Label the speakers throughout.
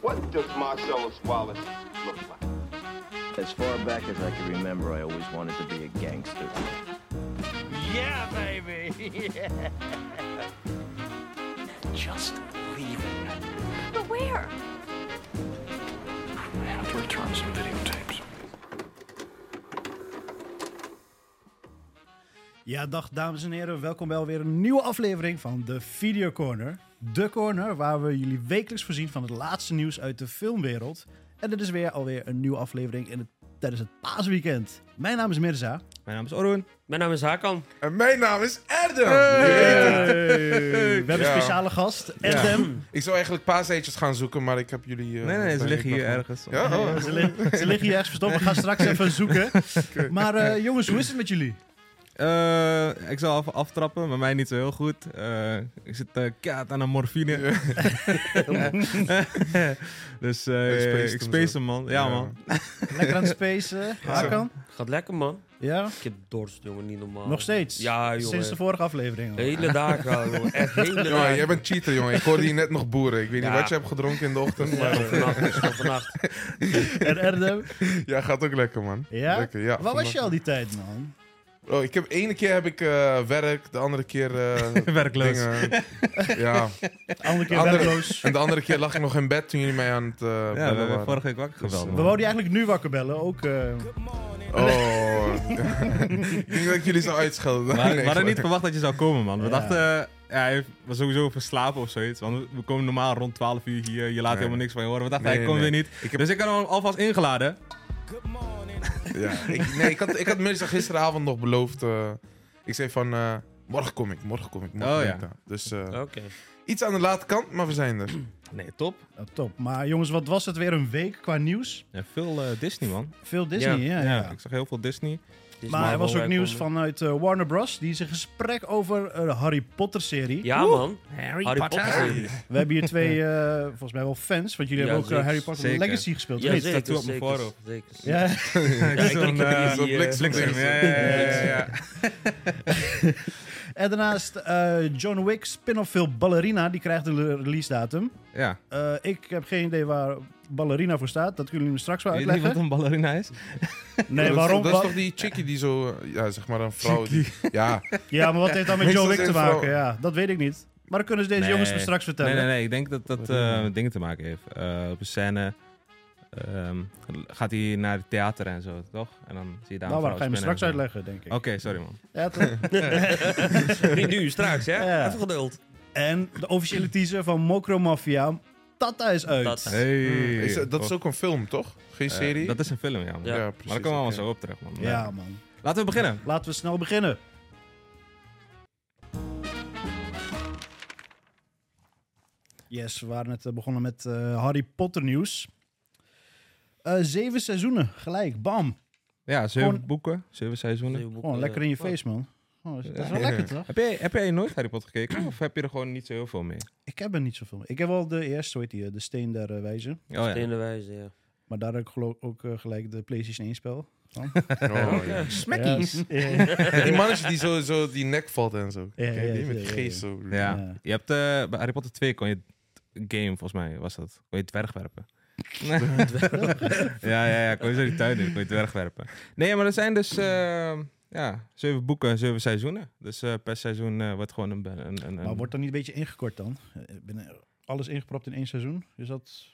Speaker 1: What does Marcellus Wallace look like?
Speaker 2: As far back as I can remember, I always wanted to be a gangster.
Speaker 3: Yeah, baby.
Speaker 4: Just leaving.
Speaker 5: But where?
Speaker 4: I have to return some videotapes.
Speaker 6: Ja, dag dames en heren. Welkom bij alweer een nieuwe aflevering van de Video Corner. De corner waar we jullie wekelijks voorzien van het laatste nieuws uit de filmwereld. En dit is weer alweer een nieuwe aflevering in het, tijdens het paasweekend. Mijn naam is Mirza.
Speaker 7: Mijn naam is Orun.
Speaker 3: Mijn naam is Hakan.
Speaker 8: En mijn naam is Adam.
Speaker 6: We hebben een
Speaker 8: Ja.
Speaker 6: speciale gast, Adam.
Speaker 8: Ik zou eigenlijk paaseetjes gaan zoeken, maar ik heb jullie... eh,
Speaker 7: Nee, nee, nee, ze
Speaker 8: bij-
Speaker 7: liggen hier
Speaker 8: Ja,
Speaker 7: ergens.
Speaker 8: oh, ja.
Speaker 6: Ze, li- ze liggen hier ergens verstopt. We gaan straks even zoeken. Maar eh, jongens, hoe is het met jullie?
Speaker 7: Eh, ik zal even aftrappen, maar mij niet zo heel goed. Eh, ik zit eh kaat aan een morfine. dus eh,
Speaker 8: Hij spaced
Speaker 7: ik
Speaker 8: hem
Speaker 7: space
Speaker 8: zo.
Speaker 7: hem, man. Ja, man.
Speaker 6: Lekker aan het spacen? Hakan?
Speaker 3: Gaat lekker, man.
Speaker 6: Ja?
Speaker 3: Ik heb dorst, jongen, niet normaal.
Speaker 6: Nog steeds?
Speaker 3: Ja, jongen.
Speaker 8: eh.
Speaker 6: Sinds de vorige aflevering al.
Speaker 3: Hele dagen, al, jongen. Echt hele
Speaker 8: Jongen,
Speaker 3: dagen.
Speaker 8: jij bent cheater, jongen. Ik hoorde hier net nog boeren. Ik weet
Speaker 3: Ja.
Speaker 8: niet wat je hebt gedronken in de ochtend, maar
Speaker 3: Van vannacht, is van vannacht.
Speaker 6: En Adam?
Speaker 8: ja, gaat ook lekker, man.
Speaker 6: Ja?
Speaker 8: Lekker, ja.
Speaker 6: Waar was je al
Speaker 8: vannacht.
Speaker 6: die tijd, man?
Speaker 8: Oh, ik heb, ene keer heb ik eh, werk, de andere keer eh
Speaker 7: Werkloos.
Speaker 8: dingen. Ja.
Speaker 6: Andere keer
Speaker 8: Andere-
Speaker 6: werkloos.
Speaker 8: En de andere keer lag ik nog in bed toen jullie mij aan het eh
Speaker 7: Ja, we
Speaker 8: bellen
Speaker 7: hebben
Speaker 8: waren.
Speaker 7: vorige week wakker gebeld,
Speaker 6: We
Speaker 7: man.
Speaker 6: wouden je eigenlijk nu wakker bellen, ook. eh,
Speaker 8: Oh. ik denk dat ik jullie zou uitschelden.
Speaker 7: We hadden-
Speaker 8: Nee,
Speaker 7: we hadden niet
Speaker 8: maar-
Speaker 7: verwacht dat je zou komen, man. We
Speaker 6: Ja.
Speaker 7: dachten, eh, ja, hij was sowieso verslapen of zoiets. Want we komen normaal rond 12 uur hier. Je laat helemaal niks van je horen. We dachten,
Speaker 8: Nee,
Speaker 7: hij komt
Speaker 8: nee.
Speaker 7: weer niet. Dus ik had hem alvast ingeladen.
Speaker 8: Ja, ik, nee, ik had, ik had meestal gisteravond nog beloofd. eh, ik zei van, eh, morgen kom ik, morgen kom ik, morgen
Speaker 7: Oh,
Speaker 8: ben
Speaker 7: ja.
Speaker 8: ik daar. Dus eh,
Speaker 3: Oké.
Speaker 8: iets aan de late kant, maar we zijn er.
Speaker 7: Nee, top.
Speaker 6: nou, top. Maar jongens, wat was het weer een week qua nieuws?
Speaker 7: Ja, veel eh, Disney, man.
Speaker 6: Veel Disney,
Speaker 3: Ja,
Speaker 6: ja. ja,
Speaker 7: Ja, ik zag heel veel Disney.
Speaker 3: Dit is
Speaker 6: Maar er was
Speaker 3: wel
Speaker 6: ook nieuws
Speaker 3: welkom.
Speaker 6: vanuit eh, Warner Bros. Die is een gesprek over een Harry Potter-serie.
Speaker 3: Ja, man. Harry, Potter.
Speaker 6: We hebben hier twee, eh, volgens mij wel fans, want jullie
Speaker 3: Ja,
Speaker 6: hebben ook eh,
Speaker 3: zeker,
Speaker 6: Harry Potter
Speaker 7: zeker.
Speaker 6: Legacy gespeeld. of
Speaker 3: Ja,
Speaker 6: niet?
Speaker 3: zeker,
Speaker 7: tattoo op mijn
Speaker 3: zeker,
Speaker 7: voorhoofd.
Speaker 3: zeker, zeker.
Speaker 6: Ja,
Speaker 3: Ja, ik denk dat er
Speaker 7: eh,
Speaker 3: die, eh,
Speaker 7: bliksem. Ja, ja, ja, ja.
Speaker 6: en daarnaast eh, John Wick spin-off film Ballerina, die krijgt een release datum. Eh,
Speaker 7: Ja,
Speaker 6: ik heb geen idee waar Ballerina voor staat, dat kunnen jullie me straks wel
Speaker 7: weet je niet wat
Speaker 6: uitleggen.
Speaker 7: een ballerina is?
Speaker 6: Nee,
Speaker 8: dat,
Speaker 6: Eh, waarom?
Speaker 8: Dat is toch die chickie die zo, eh, ja, zeg maar een vrouw. Die, ja,
Speaker 6: Ja, maar wat heeft dat met
Speaker 8: Meestal
Speaker 6: John Wick te
Speaker 8: zijn vrouwen-
Speaker 6: maken? Ja, dat weet ik niet. Maar dan kunnen ze deze
Speaker 7: Nee.
Speaker 6: jongens me straks vertellen.
Speaker 7: Nee, nee, nee. Ik denk dat dat
Speaker 8: Ballerina.
Speaker 7: eh, met dingen te maken heeft. Eh, op een scène ehm, gaat hij naar het theater en zo, toch? En dan zie je daar
Speaker 6: Nou,
Speaker 7: een
Speaker 6: waar ga je me
Speaker 7: vrouw spinnen en
Speaker 6: straks
Speaker 7: zo.
Speaker 6: uitleggen, denk ik.
Speaker 7: Oké, sorry man.
Speaker 6: Ja, toch?
Speaker 3: Niet nu, straks, hè?
Speaker 6: Ja.
Speaker 3: Even geduld.
Speaker 6: en de officiële teaser van Mokro Mafia. Tata is uit.
Speaker 3: Tata.
Speaker 8: is, dat- dat is
Speaker 7: Oh,
Speaker 8: ook een film, toch? Geen
Speaker 7: eh,
Speaker 8: serie?
Speaker 7: dat is een film, ja. man.
Speaker 3: Ja.
Speaker 8: precies,
Speaker 7: maar daar komen we allemaal
Speaker 8: oké.
Speaker 7: zo op terug, man.
Speaker 6: Ja, man.
Speaker 7: Laten we beginnen.
Speaker 6: Laten we snel beginnen. Yes, we waren net eh, begonnen met eh, Harry Potter nieuws. Eh, zeven seizoenen, gelijk, bam.
Speaker 7: Ja, zeven
Speaker 6: Gewoon-
Speaker 7: boeken, zeven seizoenen.
Speaker 6: Gewoon lekker in je face, man. Oh, dat is- dat is wel lekker, toch?
Speaker 7: Heb jij, heb jij nooit Harry Potter gekeken? Of heb je er gewoon niet zo heel veel mee?
Speaker 6: Ik heb er niet zoveel mee. Ik heb wel de eerste, hoe heet die, eh, de steen der eh, wijze.
Speaker 7: Oh
Speaker 3: In
Speaker 7: ja.
Speaker 3: de wijze, ja.
Speaker 6: Maar daar heb ik geloof ook eh, gelijk de PlayStation 1 spel.
Speaker 8: Oh, ja.
Speaker 6: Smackies. Ja,
Speaker 8: Die mannetje die zo, zo die nek valt en zo.
Speaker 6: Ja,
Speaker 8: Ken je
Speaker 6: ja,
Speaker 8: die met
Speaker 6: ja,
Speaker 8: die
Speaker 6: ja,
Speaker 8: geest
Speaker 6: ja.
Speaker 8: zo.
Speaker 7: Ja.
Speaker 6: Ja.
Speaker 7: Je hebt eh, bij Harry Potter 2 kon je het game, volgens mij was dat, kon je dwerg werpen. ja, ja, ja, kon je zo die tuin in, kon je dwerg werpen. Nee, maar er zijn dus eh, ja, zeven boeken, zeven seizoenen. Dus eh, per seizoen eh, wordt gewoon een... een, een, een-
Speaker 6: Maar wordt dan niet een beetje ingekort dan? Eh, ben eh, alles ingepropt in één seizoen? Is dat,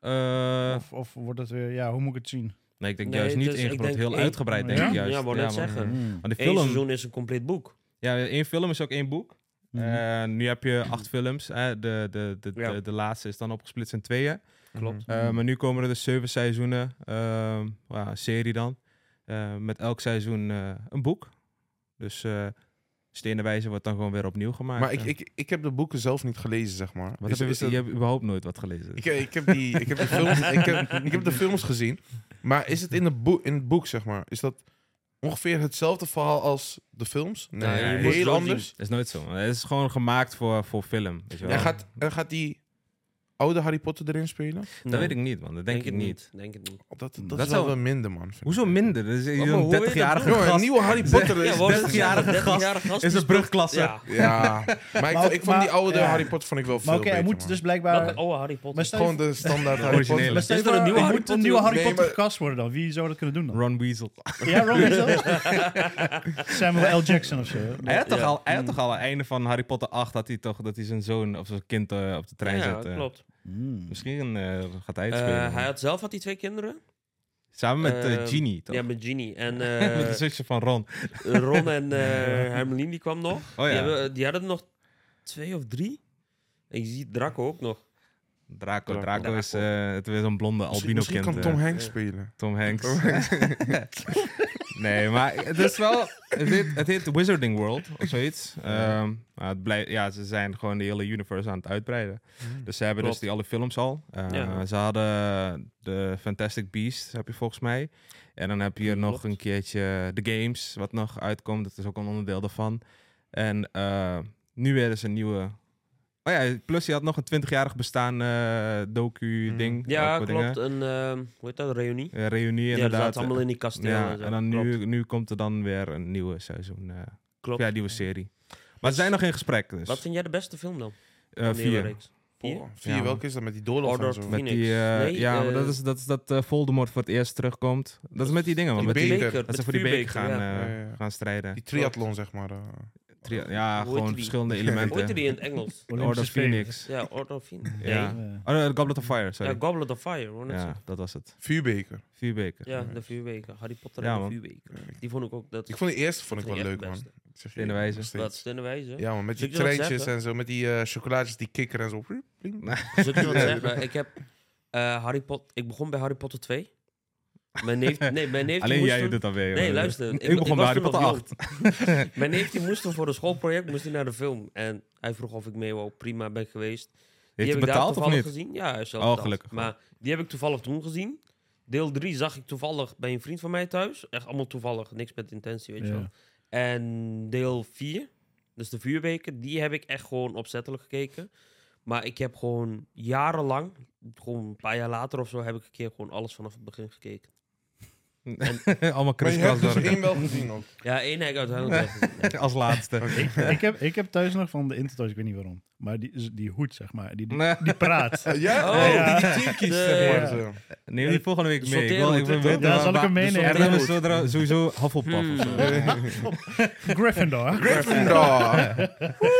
Speaker 7: Eh,
Speaker 6: of, of wordt dat weer, ja, hoe moet ik het zien?
Speaker 7: nee, ik denk
Speaker 3: Nee,
Speaker 7: juist niet
Speaker 3: dus ik
Speaker 7: ingebrand,
Speaker 3: denk
Speaker 7: heel
Speaker 3: één-
Speaker 7: uitgebreid denk
Speaker 6: Ja?
Speaker 7: ik juist.
Speaker 3: Ja, wou net
Speaker 7: maar-
Speaker 3: zeggen.
Speaker 6: Mm.
Speaker 7: Want die
Speaker 3: Eén
Speaker 7: film,
Speaker 3: seizoen is een compleet boek.
Speaker 7: ja, één film is ook één boek.
Speaker 6: Mhm.
Speaker 7: Eh, nu heb je acht films. eh, de, de, de, de,
Speaker 3: Ja.
Speaker 7: de, laatste is dan opgesplitst in tweeën.
Speaker 3: Klopt.
Speaker 7: Eh,
Speaker 8: Mhm.
Speaker 7: maar nu komen er dus zeven seizoenen, ehm, ja, een serie dan. Eh, met elk seizoen eh, een boek. Dus eh Stenenwijze wordt dan gewoon weer opnieuw gemaakt.
Speaker 8: Maar ik,
Speaker 7: En-
Speaker 8: ik, ik heb de boeken zelf niet gelezen, zeg maar.
Speaker 7: wat
Speaker 8: Is-
Speaker 7: heb je,
Speaker 8: is dat-
Speaker 7: je hebt überhaupt nooit wat gelezen.
Speaker 8: Ik, eh, ik, heb die, ik, heb de films, ik, heb, ik heb de films gezien. Maar is het in, de boek, in het boek, zeg maar? Is dat ongeveer hetzelfde verhaal als de films? Nee,
Speaker 7: Nee, je moet het
Speaker 8: heel
Speaker 3: wel
Speaker 8: anders.
Speaker 7: Dat is nooit zo. man. Het is gewoon gemaakt voor, voor film. Weet je wel.
Speaker 8: En gaat, en gaat die oude Harry Potter erin spelen?
Speaker 7: Dat weet ik niet, man. Dat denk, ik
Speaker 3: het
Speaker 7: niet.
Speaker 3: Denk het niet. Oh,
Speaker 8: Dat, dat,
Speaker 7: Dat
Speaker 8: is
Speaker 7: zou-
Speaker 8: wel wel minder, man. vind ik.
Speaker 7: Hoezo minder? Dat is
Speaker 3: maar
Speaker 7: een
Speaker 3: hoe weet
Speaker 7: 30-jarige
Speaker 8: Jongen, een
Speaker 7: gast.
Speaker 8: nieuwe Harry Potter is...
Speaker 3: wat is het?
Speaker 7: 30-jarige
Speaker 3: Een 30-jarige
Speaker 7: gast
Speaker 3: gast
Speaker 7: is
Speaker 3: die
Speaker 7: een brugklasse.
Speaker 3: Ja.
Speaker 8: Ja, maar ik,
Speaker 6: Maar-
Speaker 8: ik vond die
Speaker 6: maar-
Speaker 8: oude
Speaker 6: ja.
Speaker 8: Harry Potter vond ik wel veel
Speaker 6: Maar oké, hij
Speaker 8: beter,
Speaker 6: moet
Speaker 8: man.
Speaker 6: dus blijkbaar...
Speaker 3: Welke
Speaker 5: oh,
Speaker 3: oude Harry Potter?
Speaker 6: Maar stel je
Speaker 8: Gewoon
Speaker 6: voor-
Speaker 8: de standaard Harry
Speaker 7: originele.
Speaker 8: Potter.
Speaker 6: maar stel je
Speaker 3: Is er een
Speaker 6: voor,
Speaker 3: nieuwe
Speaker 6: er
Speaker 3: Harry
Speaker 6: moet een
Speaker 3: Potter?
Speaker 6: nieuwe Harry
Speaker 8: Nee,
Speaker 6: Potter
Speaker 8: maar-
Speaker 6: gecast worden dan. Wie zou dat kunnen doen dan?
Speaker 7: Ron Weasel.
Speaker 6: Ja, Ron Weasel? Samuel L. Jackson of zo.
Speaker 7: Hij had, toch al, hij
Speaker 8: Mm.
Speaker 7: had toch al aan het einde van Harry Potter 8 had hij toch dat hij zijn zoon of zijn kind eh, op de trein
Speaker 5: Ja,
Speaker 7: zet. eh.
Speaker 5: klopt.
Speaker 6: Hmm.
Speaker 7: Misschien eh, gaat hij het
Speaker 5: Eh,
Speaker 7: spelen.
Speaker 5: hij had zelf had die twee kinderen.
Speaker 7: Samen met eh,
Speaker 5: eh,
Speaker 7: Genie, toch?
Speaker 5: Ja, met Ginny. En
Speaker 7: met
Speaker 5: eh,
Speaker 7: de zusje van Ron.
Speaker 5: Ron en eh Hermeline die kwam nog.
Speaker 7: Oh, ja.
Speaker 5: die, hebben- die hadden er nog twee of drie. Ik zie Draco ook nog.
Speaker 7: Draco.
Speaker 8: Draco.
Speaker 7: Draco, is eh, het weer zo'n blonde albino
Speaker 8: Misschien, misschien
Speaker 7: kind.
Speaker 8: kan
Speaker 7: eh,
Speaker 8: Tom Hanks spelen.
Speaker 7: Tom Hanks. nee, maar het is wel... Het heet, het heet Wizarding World of zoiets. Ehm, maar het blijft, ja, ze zijn gewoon de hele universe aan het uitbreiden. Dus ze hebben
Speaker 5: Hmm. Klopt.
Speaker 7: dus die alle films al. Eh,
Speaker 5: Ja.
Speaker 7: Ze hadden de Fantastic Beasts, heb je volgens mij. En dan heb je nog
Speaker 5: Klopt.
Speaker 7: een keertje de games, wat nog uitkomt. Dat is ook een onderdeel daarvan. En eh, nu weer is een nieuwe... Oh ja, plus je had nog een 20-jarig bestaan eh, docu-ding.
Speaker 5: Hmm. Ja,
Speaker 7: ook wat dingen.
Speaker 5: klopt. Een, ehm, hoe heet dat? Reunie.
Speaker 7: Eh, reunie
Speaker 5: Ja, dat
Speaker 7: inderdaad.
Speaker 5: zaten allemaal in die kasteel.
Speaker 7: Ja,
Speaker 5: zo.
Speaker 7: en dan
Speaker 5: Klopt,
Speaker 7: nu, nu komt er dan weer een nieuwe seizoen. eh,
Speaker 5: klopt.
Speaker 7: ja, nieuwe serie. Maar ze zijn nog in gesprek, dus.
Speaker 5: Wat vind jij de beste film dan?
Speaker 7: Eh,
Speaker 5: van die hele
Speaker 7: vier.
Speaker 5: reeks? Vier?
Speaker 8: Vier, vier
Speaker 7: Ja,
Speaker 8: welke is dat met die doolhof
Speaker 5: Order
Speaker 8: en
Speaker 5: of
Speaker 8: zo?
Speaker 5: Phoenix.
Speaker 7: Met die, eh,
Speaker 5: Nee,
Speaker 7: ja, maar
Speaker 5: eh,
Speaker 7: dat is dat, is dat eh, Voldemort voor het eerst terugkomt. Dat is met die dingen, man.
Speaker 8: die
Speaker 7: Met die,
Speaker 8: beker.
Speaker 7: dat ze
Speaker 5: met
Speaker 7: voor die beker
Speaker 5: vuurbeker,
Speaker 7: gaan,
Speaker 5: ja.
Speaker 7: eh,
Speaker 8: Ja, ja, ja.
Speaker 7: gaan strijden.
Speaker 8: Die triathlon, zeg maar. eh.
Speaker 7: Tri- ja,
Speaker 5: Hoe heet
Speaker 7: gewoon
Speaker 5: die?
Speaker 7: verschillende
Speaker 5: Hoe heette
Speaker 7: elementen.
Speaker 5: die in het Engels?
Speaker 7: Order of
Speaker 6: Spelen.
Speaker 7: Phoenix.
Speaker 5: Ja, Order of Phoenix.
Speaker 7: Ja.
Speaker 5: Nee.
Speaker 6: Eh,
Speaker 7: Oh, nee, Goblet of Fire,
Speaker 5: Ja,
Speaker 7: sorry.
Speaker 5: Goblet of Fire, hoor. net
Speaker 7: Ja,
Speaker 5: zo.
Speaker 7: dat was het.
Speaker 8: Vuurbeker.
Speaker 7: Vier beker.
Speaker 5: Ja, de vuurbeker. Harry Potter
Speaker 7: Ja,
Speaker 5: en de
Speaker 7: man.
Speaker 5: vuurbeker. Die vond ik ook... Dat
Speaker 8: Ik vond die eerste vond ik wel
Speaker 5: Vond ik
Speaker 8: leuk,
Speaker 5: echt
Speaker 8: man.
Speaker 5: best.
Speaker 8: Ik zeg je
Speaker 7: Stenen wijze.
Speaker 8: nog steeds.
Speaker 5: dat is de wijze.
Speaker 8: Ja, man, met
Speaker 5: Zul
Speaker 8: die
Speaker 5: ik je wat
Speaker 8: treintjes
Speaker 5: zeggen?
Speaker 8: en zo. Met die eh, chocolaatjes die kikker en zo.
Speaker 5: Zal ik je wat zeggen? Ik heb eh, Harry Potter... Ik begon bij Harry Potter 2. Mijn neef... Nee, mijn neef die
Speaker 7: Alleen
Speaker 5: moest
Speaker 7: jij
Speaker 5: toen-
Speaker 7: doet dat weer.
Speaker 5: Nee,
Speaker 7: man.
Speaker 5: luister.
Speaker 7: Ik,
Speaker 5: wa-
Speaker 7: begon bij
Speaker 5: was
Speaker 7: Harry
Speaker 5: toen
Speaker 7: Potter
Speaker 5: nog
Speaker 7: 8.
Speaker 5: jong. Mijn neef die moest toen voor een schoolproject moest hij naar de film. En hij vroeg of ik mee wou. Prima, ben ik geweest.
Speaker 7: Heeft
Speaker 5: die
Speaker 7: je
Speaker 5: heb ik daar
Speaker 7: betaald of
Speaker 5: toevallig
Speaker 7: niet?
Speaker 5: gezien. Ja, hij is zelf
Speaker 7: Oh,
Speaker 5: betaald.
Speaker 7: gelukkig wel.
Speaker 5: Maar die heb ik toevallig toen gezien. Deel 3 zag ik toevallig bij een vriend van mij thuis. Echt allemaal toevallig. Niks met intentie, weet je
Speaker 6: Ja.
Speaker 5: wel. En deel 4, dus de vuurbeker, die heb ik echt gewoon opzettelijk gekeken. Maar ik heb gewoon jarenlang, gewoon een paar jaar later of zo, heb ik een keer gewoon alles vanaf het begin gekeken.
Speaker 7: Allemaal
Speaker 8: Maar je hebt
Speaker 7: kriskras
Speaker 8: dus
Speaker 7: door elkaar.
Speaker 8: één wel gezien ook.
Speaker 5: Ja, één heb ik uiteindelijk wel gezien.
Speaker 7: Als laatste.
Speaker 6: ik, heb, ik heb thuis nog van de Intertoys, ik weet niet waarom. Maar die, die hoed, zeg maar. Die, die,
Speaker 7: Nee.
Speaker 6: die praat.
Speaker 8: Ja?
Speaker 5: Oh,
Speaker 8: Oh, die
Speaker 5: ja.
Speaker 8: chinkies,
Speaker 5: De-
Speaker 8: zeg maar. zo.
Speaker 7: Neem die volgende week mee. Ik
Speaker 5: Sorteer
Speaker 7: wil, ik
Speaker 5: moet
Speaker 7: wil
Speaker 5: het,
Speaker 7: weten
Speaker 5: hoor.
Speaker 6: Ja,
Speaker 7: waar-
Speaker 6: zal ik hem
Speaker 7: waar-
Speaker 6: meenemen.
Speaker 7: Er hebben ze er sowieso Hufflepuff of
Speaker 5: Hmm.
Speaker 7: zo.
Speaker 6: Gryffindor.
Speaker 8: Gryffindor.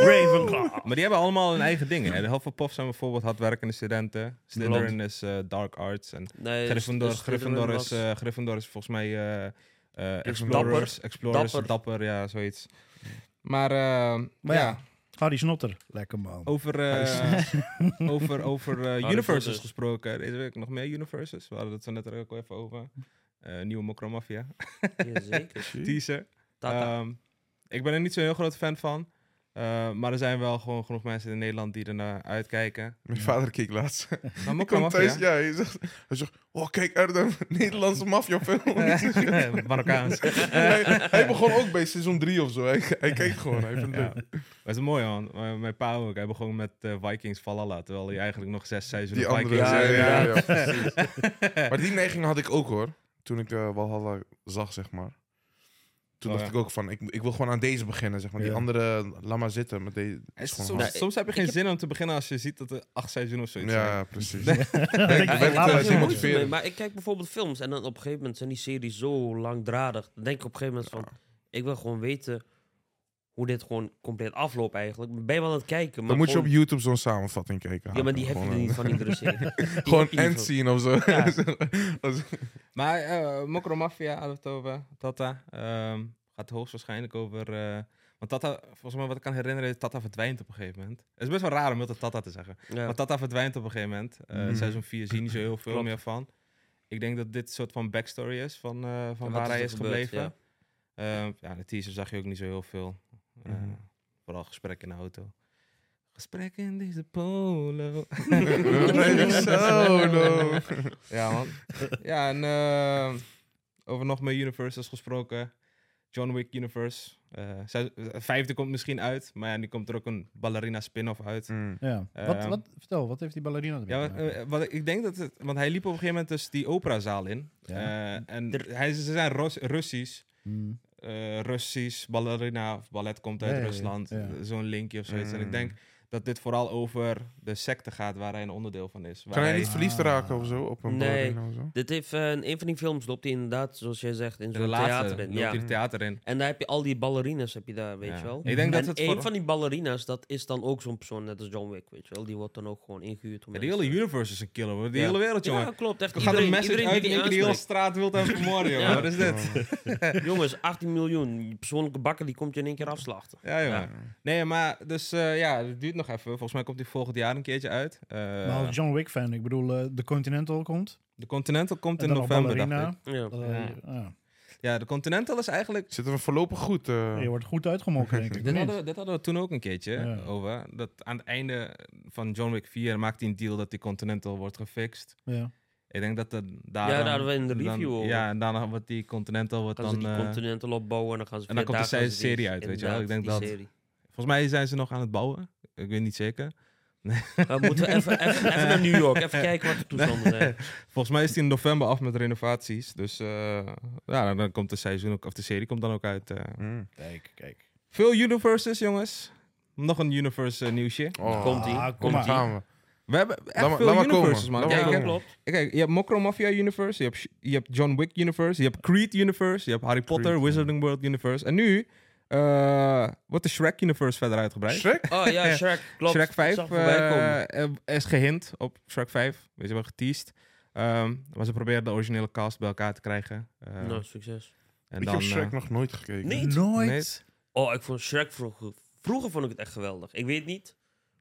Speaker 5: Ravenclaw.
Speaker 7: Maar die hebben allemaal hun eigen dingen. hè. De Hufflepuff zijn bijvoorbeeld hardwerkende studenten. Slytherin is eh, dark arts. En
Speaker 5: Nee,
Speaker 7: Gryffindor,
Speaker 5: dus- dus
Speaker 7: Gryffindor,
Speaker 5: Slytherin
Speaker 7: is, eh, Gryffindor is volgens mij eh, eh, explorers. Explorers, dapper.
Speaker 5: Dapper.
Speaker 7: ja, zoiets. Maar, eh,
Speaker 6: Maar
Speaker 7: ja.
Speaker 6: ja. Harry Ah, Snotter. Lekker man.
Speaker 7: over, eh, over, over eh, universes
Speaker 5: Potter.
Speaker 7: gesproken. Deze week nog meer universes. We hadden het zo net er ook al even over. Eh, nieuwe Mokromafia. eh,
Speaker 5: was- Jazeker.
Speaker 7: Teaser.
Speaker 5: Tata.
Speaker 7: Ehm, ik ben er niet zo'n heel groot fan van. Eh, maar er zijn wel gewoon genoeg mensen in Nederland die er naar uitkijken.
Speaker 8: Mijn vader keek laatst.
Speaker 7: Maar
Speaker 8: Ik
Speaker 7: Mokka
Speaker 8: kwam thuis,
Speaker 7: Mafia.
Speaker 8: ja, hij zegt, hij zegt, oh kijk Erdem, Nederlandse maffiafilm.
Speaker 7: Eh, Marokkaans.
Speaker 8: hij, hij begon ook bij seizoen 3 of zo. Hij, hij kijkt gewoon, hij vindt het
Speaker 7: Ja.
Speaker 8: leuk.
Speaker 7: Dat is mooi, man. Eh, mijn pa ook. Hij begon met eh, Vikings Valhalla. Terwijl hij eigenlijk nog zes seizoenen
Speaker 8: Die andere,
Speaker 7: Vikings... eh,
Speaker 8: ja,
Speaker 5: ja,
Speaker 8: ja, ja,
Speaker 5: inderdaad.
Speaker 8: precies. maar die neiging had ik ook hoor, toen ik eh, Walhalla zag, zeg maar. Toen
Speaker 7: Oh,
Speaker 8: dacht
Speaker 7: ja.
Speaker 8: ik ook van, ik, ik wil gewoon aan deze beginnen, zeg maar. Die
Speaker 6: Ja.
Speaker 8: andere, eh, laat maar zitten. Met deze,
Speaker 7: Is het
Speaker 8: gewoon
Speaker 7: soms,
Speaker 8: hard.
Speaker 5: Nee,
Speaker 7: soms heb je
Speaker 5: ik
Speaker 7: geen
Speaker 5: heb-
Speaker 7: zin om te beginnen als je ziet dat er acht seizoenen of zoiets zijn.
Speaker 8: ja, precies.
Speaker 6: Ik denk,
Speaker 8: Ja,
Speaker 6: ik
Speaker 8: ik
Speaker 6: laat
Speaker 8: weet
Speaker 7: eh,
Speaker 6: het zien.
Speaker 8: het wel.
Speaker 5: Moeite
Speaker 8: motiveert.
Speaker 5: mee, maar ik kijk bijvoorbeeld films en dan op een gegeven moment zijn die series zo langdradig. Dan denk ik op een gegeven moment van, ik wil gewoon weten hoe dit gewoon compleet afloopt eigenlijk. Ben je wel aan het kijken, maar
Speaker 8: Dan moet je op
Speaker 5: gewoon-
Speaker 8: YouTube zo'n samenvatting kijken.
Speaker 5: Ja, maar die heb je
Speaker 8: Gewoon,
Speaker 5: er niet
Speaker 8: eh,
Speaker 5: van iedere serie. Die
Speaker 8: Gewoon
Speaker 5: heb je niet
Speaker 8: end
Speaker 5: van-
Speaker 8: scene of zo.
Speaker 5: Ja.
Speaker 8: Als-
Speaker 7: Maar eh Mokro Mafia hadden we het over. Tata. ehm, gaat hoogstwaarschijnlijk over... eh, want Tata, volgens mij wat ik kan herinneren, Tata verdwijnt op een gegeven moment. Het is best wel raar om dat Tata te zeggen.
Speaker 5: Ja.
Speaker 7: Want Tata verdwijnt op een gegeven moment. Eh,
Speaker 8: Mhm.
Speaker 7: Seizoen 4 zie je niet zo heel veel
Speaker 5: Klopt.
Speaker 7: meer van. Ik denk dat dit een soort van backstory is van, eh, van
Speaker 5: En wat
Speaker 7: waar
Speaker 5: is
Speaker 7: hij
Speaker 5: er
Speaker 7: is
Speaker 5: gebeurd,
Speaker 7: gebleven. Eh, ja, de teaser zag je ook niet zo heel veel. Eh,
Speaker 8: Mhm.
Speaker 7: Vooral gesprek in de auto. Gesprek in deze polo.
Speaker 8: We blijven solo.
Speaker 7: ja, man. Ja, en eh, over nog meer universes gesproken. John Wick Universe. Eh, zij- de vijfde komt misschien uit, maar ja, nu komt er ook een ballerina spin-off uit.
Speaker 8: Mm.
Speaker 6: Ja.
Speaker 7: Eh,
Speaker 6: wat, wat, vertel, wat heeft die ballerina ermee
Speaker 7: Ja,
Speaker 6: te
Speaker 7: maar,
Speaker 6: maken?
Speaker 7: eh, wat, ik- ik denk dat het... Want hij liep op een gegeven moment dus die operazaal in.
Speaker 6: Ja.
Speaker 7: Eh, en hij, ze zijn Ros- Russisch.
Speaker 6: Hmm.
Speaker 7: eh, Russisch, ballerina of ballet komt uit
Speaker 6: Ja, ja, ja.
Speaker 7: Rusland. eh,
Speaker 6: Ja.
Speaker 7: Zo'n linkje of zoiets. En ik
Speaker 8: Mm.
Speaker 7: denk dat dit vooral over de secte gaat waar hij een onderdeel van is. Waar
Speaker 8: Kan hij
Speaker 7: hij
Speaker 8: niet verliefd
Speaker 6: Ah.
Speaker 8: raken of zo? Op een
Speaker 5: Nee.
Speaker 8: ballerina of zo?
Speaker 5: Dit heeft eh, in een van die films loopt hij inderdaad, zoals jij zegt, in
Speaker 7: de
Speaker 5: zo'n
Speaker 7: laatste
Speaker 5: theater.
Speaker 7: loopt
Speaker 5: in.
Speaker 7: hij
Speaker 5: Ja.
Speaker 7: het theater in.
Speaker 5: En daar heb je al die ballerinas, heb je daar, weet
Speaker 7: Ja.
Speaker 5: je wel.
Speaker 7: Ik denk dat
Speaker 5: en
Speaker 7: het
Speaker 5: een
Speaker 7: voor...
Speaker 5: van die ballerina's, dat is dan ook zo'n persoon, net als John Wick, weet je wel. Die wordt dan ook gewoon ingehuurd om
Speaker 7: Ja, die
Speaker 5: mensen-
Speaker 7: hele universe is een killer, hoor. Die
Speaker 5: Ja.
Speaker 7: hele wereld, jongen.
Speaker 5: Ja, klopt. Echt
Speaker 7: Er gaat een
Speaker 5: iedereen-
Speaker 7: message
Speaker 5: iedereen
Speaker 7: uit
Speaker 5: die
Speaker 7: en
Speaker 5: die
Speaker 7: die hele
Speaker 5: aanspreekt.
Speaker 7: straat wil hem vermoorden, jongen.
Speaker 5: Ja.
Speaker 7: Wat is dit?
Speaker 5: Jongens, 18 miljoen. Je persoonlijke bakker, die komt je in één keer afslachten.
Speaker 7: Ja, jongen. Nee, maar dus eh, ja, het duurt nog even. Volgens mij komt die volgend jaar een keertje uit. Eh,
Speaker 6: maar als John Wick fan, ik bedoel, eh, de Continental komt.
Speaker 7: de Continental komt
Speaker 6: En
Speaker 7: in
Speaker 6: dan nog
Speaker 7: november, dacht
Speaker 6: ballerina.
Speaker 7: ik.
Speaker 5: Ja.
Speaker 6: Dat, eh, ja.
Speaker 7: Ja, de Continental is eigenlijk...
Speaker 8: Zitten we voorlopig goed? eh,
Speaker 6: Je wordt goed uitgemolken, denk ik.
Speaker 7: Dit
Speaker 6: of niet?
Speaker 7: hadden, dit hadden we toen ook een keertje
Speaker 6: Ja.
Speaker 7: over. Dat aan het einde van John Wick 4 maakt hij een deal dat die Continental wordt gefixt.
Speaker 6: Ja.
Speaker 7: Ik denk dat dat daar...
Speaker 5: Ja,
Speaker 7: dan-
Speaker 5: daar hadden we in de
Speaker 7: dan-
Speaker 5: review over.
Speaker 7: Ja, en daarna wordt die Continental wordt
Speaker 5: Gaan ze
Speaker 7: dan...
Speaker 5: die
Speaker 7: eh,
Speaker 5: continental opbouwen en dan gaan ze
Speaker 7: en dan
Speaker 5: weer
Speaker 7: komt
Speaker 5: daar
Speaker 7: de
Speaker 5: gaan ze
Speaker 7: serie
Speaker 5: die-
Speaker 7: uit, weet je wel. Ik denk
Speaker 5: inderdaad,
Speaker 7: dat-
Speaker 5: die
Speaker 7: volgens mij zijn ze nog aan het bouwen. Ik weet niet zeker.
Speaker 5: serie. Dan moeten we even, even, even naar New York, even kijken wat de toestanden zijn.
Speaker 7: Volgens mij is die in november af met renovaties. Dus eh, ja, dan, dan komt de seizoen ook... Of de serie komt dan ook uit. eh.
Speaker 8: mm.
Speaker 6: Kijk, kijk.
Speaker 7: Veel universes, jongens. Nog een universe eh, nieuwsje.
Speaker 8: Oh,
Speaker 5: Komt
Speaker 6: Ah,
Speaker 5: ie,
Speaker 6: kom
Speaker 5: komt
Speaker 8: daar
Speaker 6: maar.
Speaker 5: ie.
Speaker 8: gaan we.
Speaker 7: We hebben echt
Speaker 8: Laat maar-
Speaker 7: veel
Speaker 8: laat maar komen.
Speaker 7: universes, man.
Speaker 8: Laat maar
Speaker 7: Kijk,
Speaker 5: Ja,
Speaker 7: ik heb-
Speaker 8: komen.
Speaker 5: klopt.
Speaker 7: Kijk, je hebt Mokro Mafia Universe, je hebt, Sh- je hebt John Wick Universe, je hebt Creed Universe, je hebt Harry Potter, Wizarding World Universe. En nu eh, wordt de Shrek Universe verder uitgebreid.
Speaker 8: Shrek?
Speaker 5: Oh ja, Shrek, klopt.
Speaker 7: Shrek 5
Speaker 5: Zag ik voorbij komen.
Speaker 7: eh, eh, is gehint op Shrek 5. Weet je wel, geteased. Ehm, maar ze proberen de originele cast bij elkaar te krijgen. Eh,
Speaker 5: Nou, succes.
Speaker 7: en
Speaker 8: Ik heb
Speaker 7: eh,
Speaker 8: Shrek nog nooit gekeken.
Speaker 5: Nee.
Speaker 6: Nooit.
Speaker 7: nee,
Speaker 5: Oh, ik vond Shrek vroeger... Vroeger vond ik het echt geweldig. Ik weet niet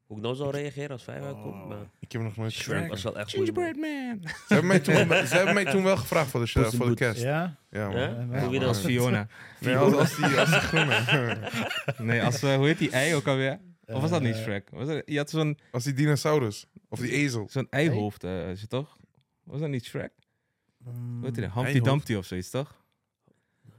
Speaker 5: hoe ik nou zou reageren als 5
Speaker 6: Oh.
Speaker 5: uitkomt, maar
Speaker 8: Ik heb nog nooit
Speaker 5: Shrek
Speaker 8: gekeken.
Speaker 5: was wel echt goed.
Speaker 7: Gingerbread Man.
Speaker 8: Ze hebben mij toen, ze hebben mij toen wel gevraagd voor de,
Speaker 5: Puss in
Speaker 8: voor de
Speaker 5: Boots.
Speaker 8: kerst.
Speaker 6: Ja?
Speaker 8: Ja, man.
Speaker 5: Ja?
Speaker 6: Ja,
Speaker 5: Hoe wie dan?
Speaker 7: Als Fiona.
Speaker 8: Nee, als, als die, als die groene.
Speaker 7: Nee, als, eh, hoe heet die ei ook alweer? Of was dat niet
Speaker 6: Eh,
Speaker 7: Shrek? Was dat- je had zo'n
Speaker 8: Als die dinosaurus. Of die ezel.
Speaker 7: zo'n eihoofd, eh, is het toch? Was dat niet Shrek? Hoe heet die dan? Humpty
Speaker 8: Eihoofd.
Speaker 7: Dumpty of zoiets, toch?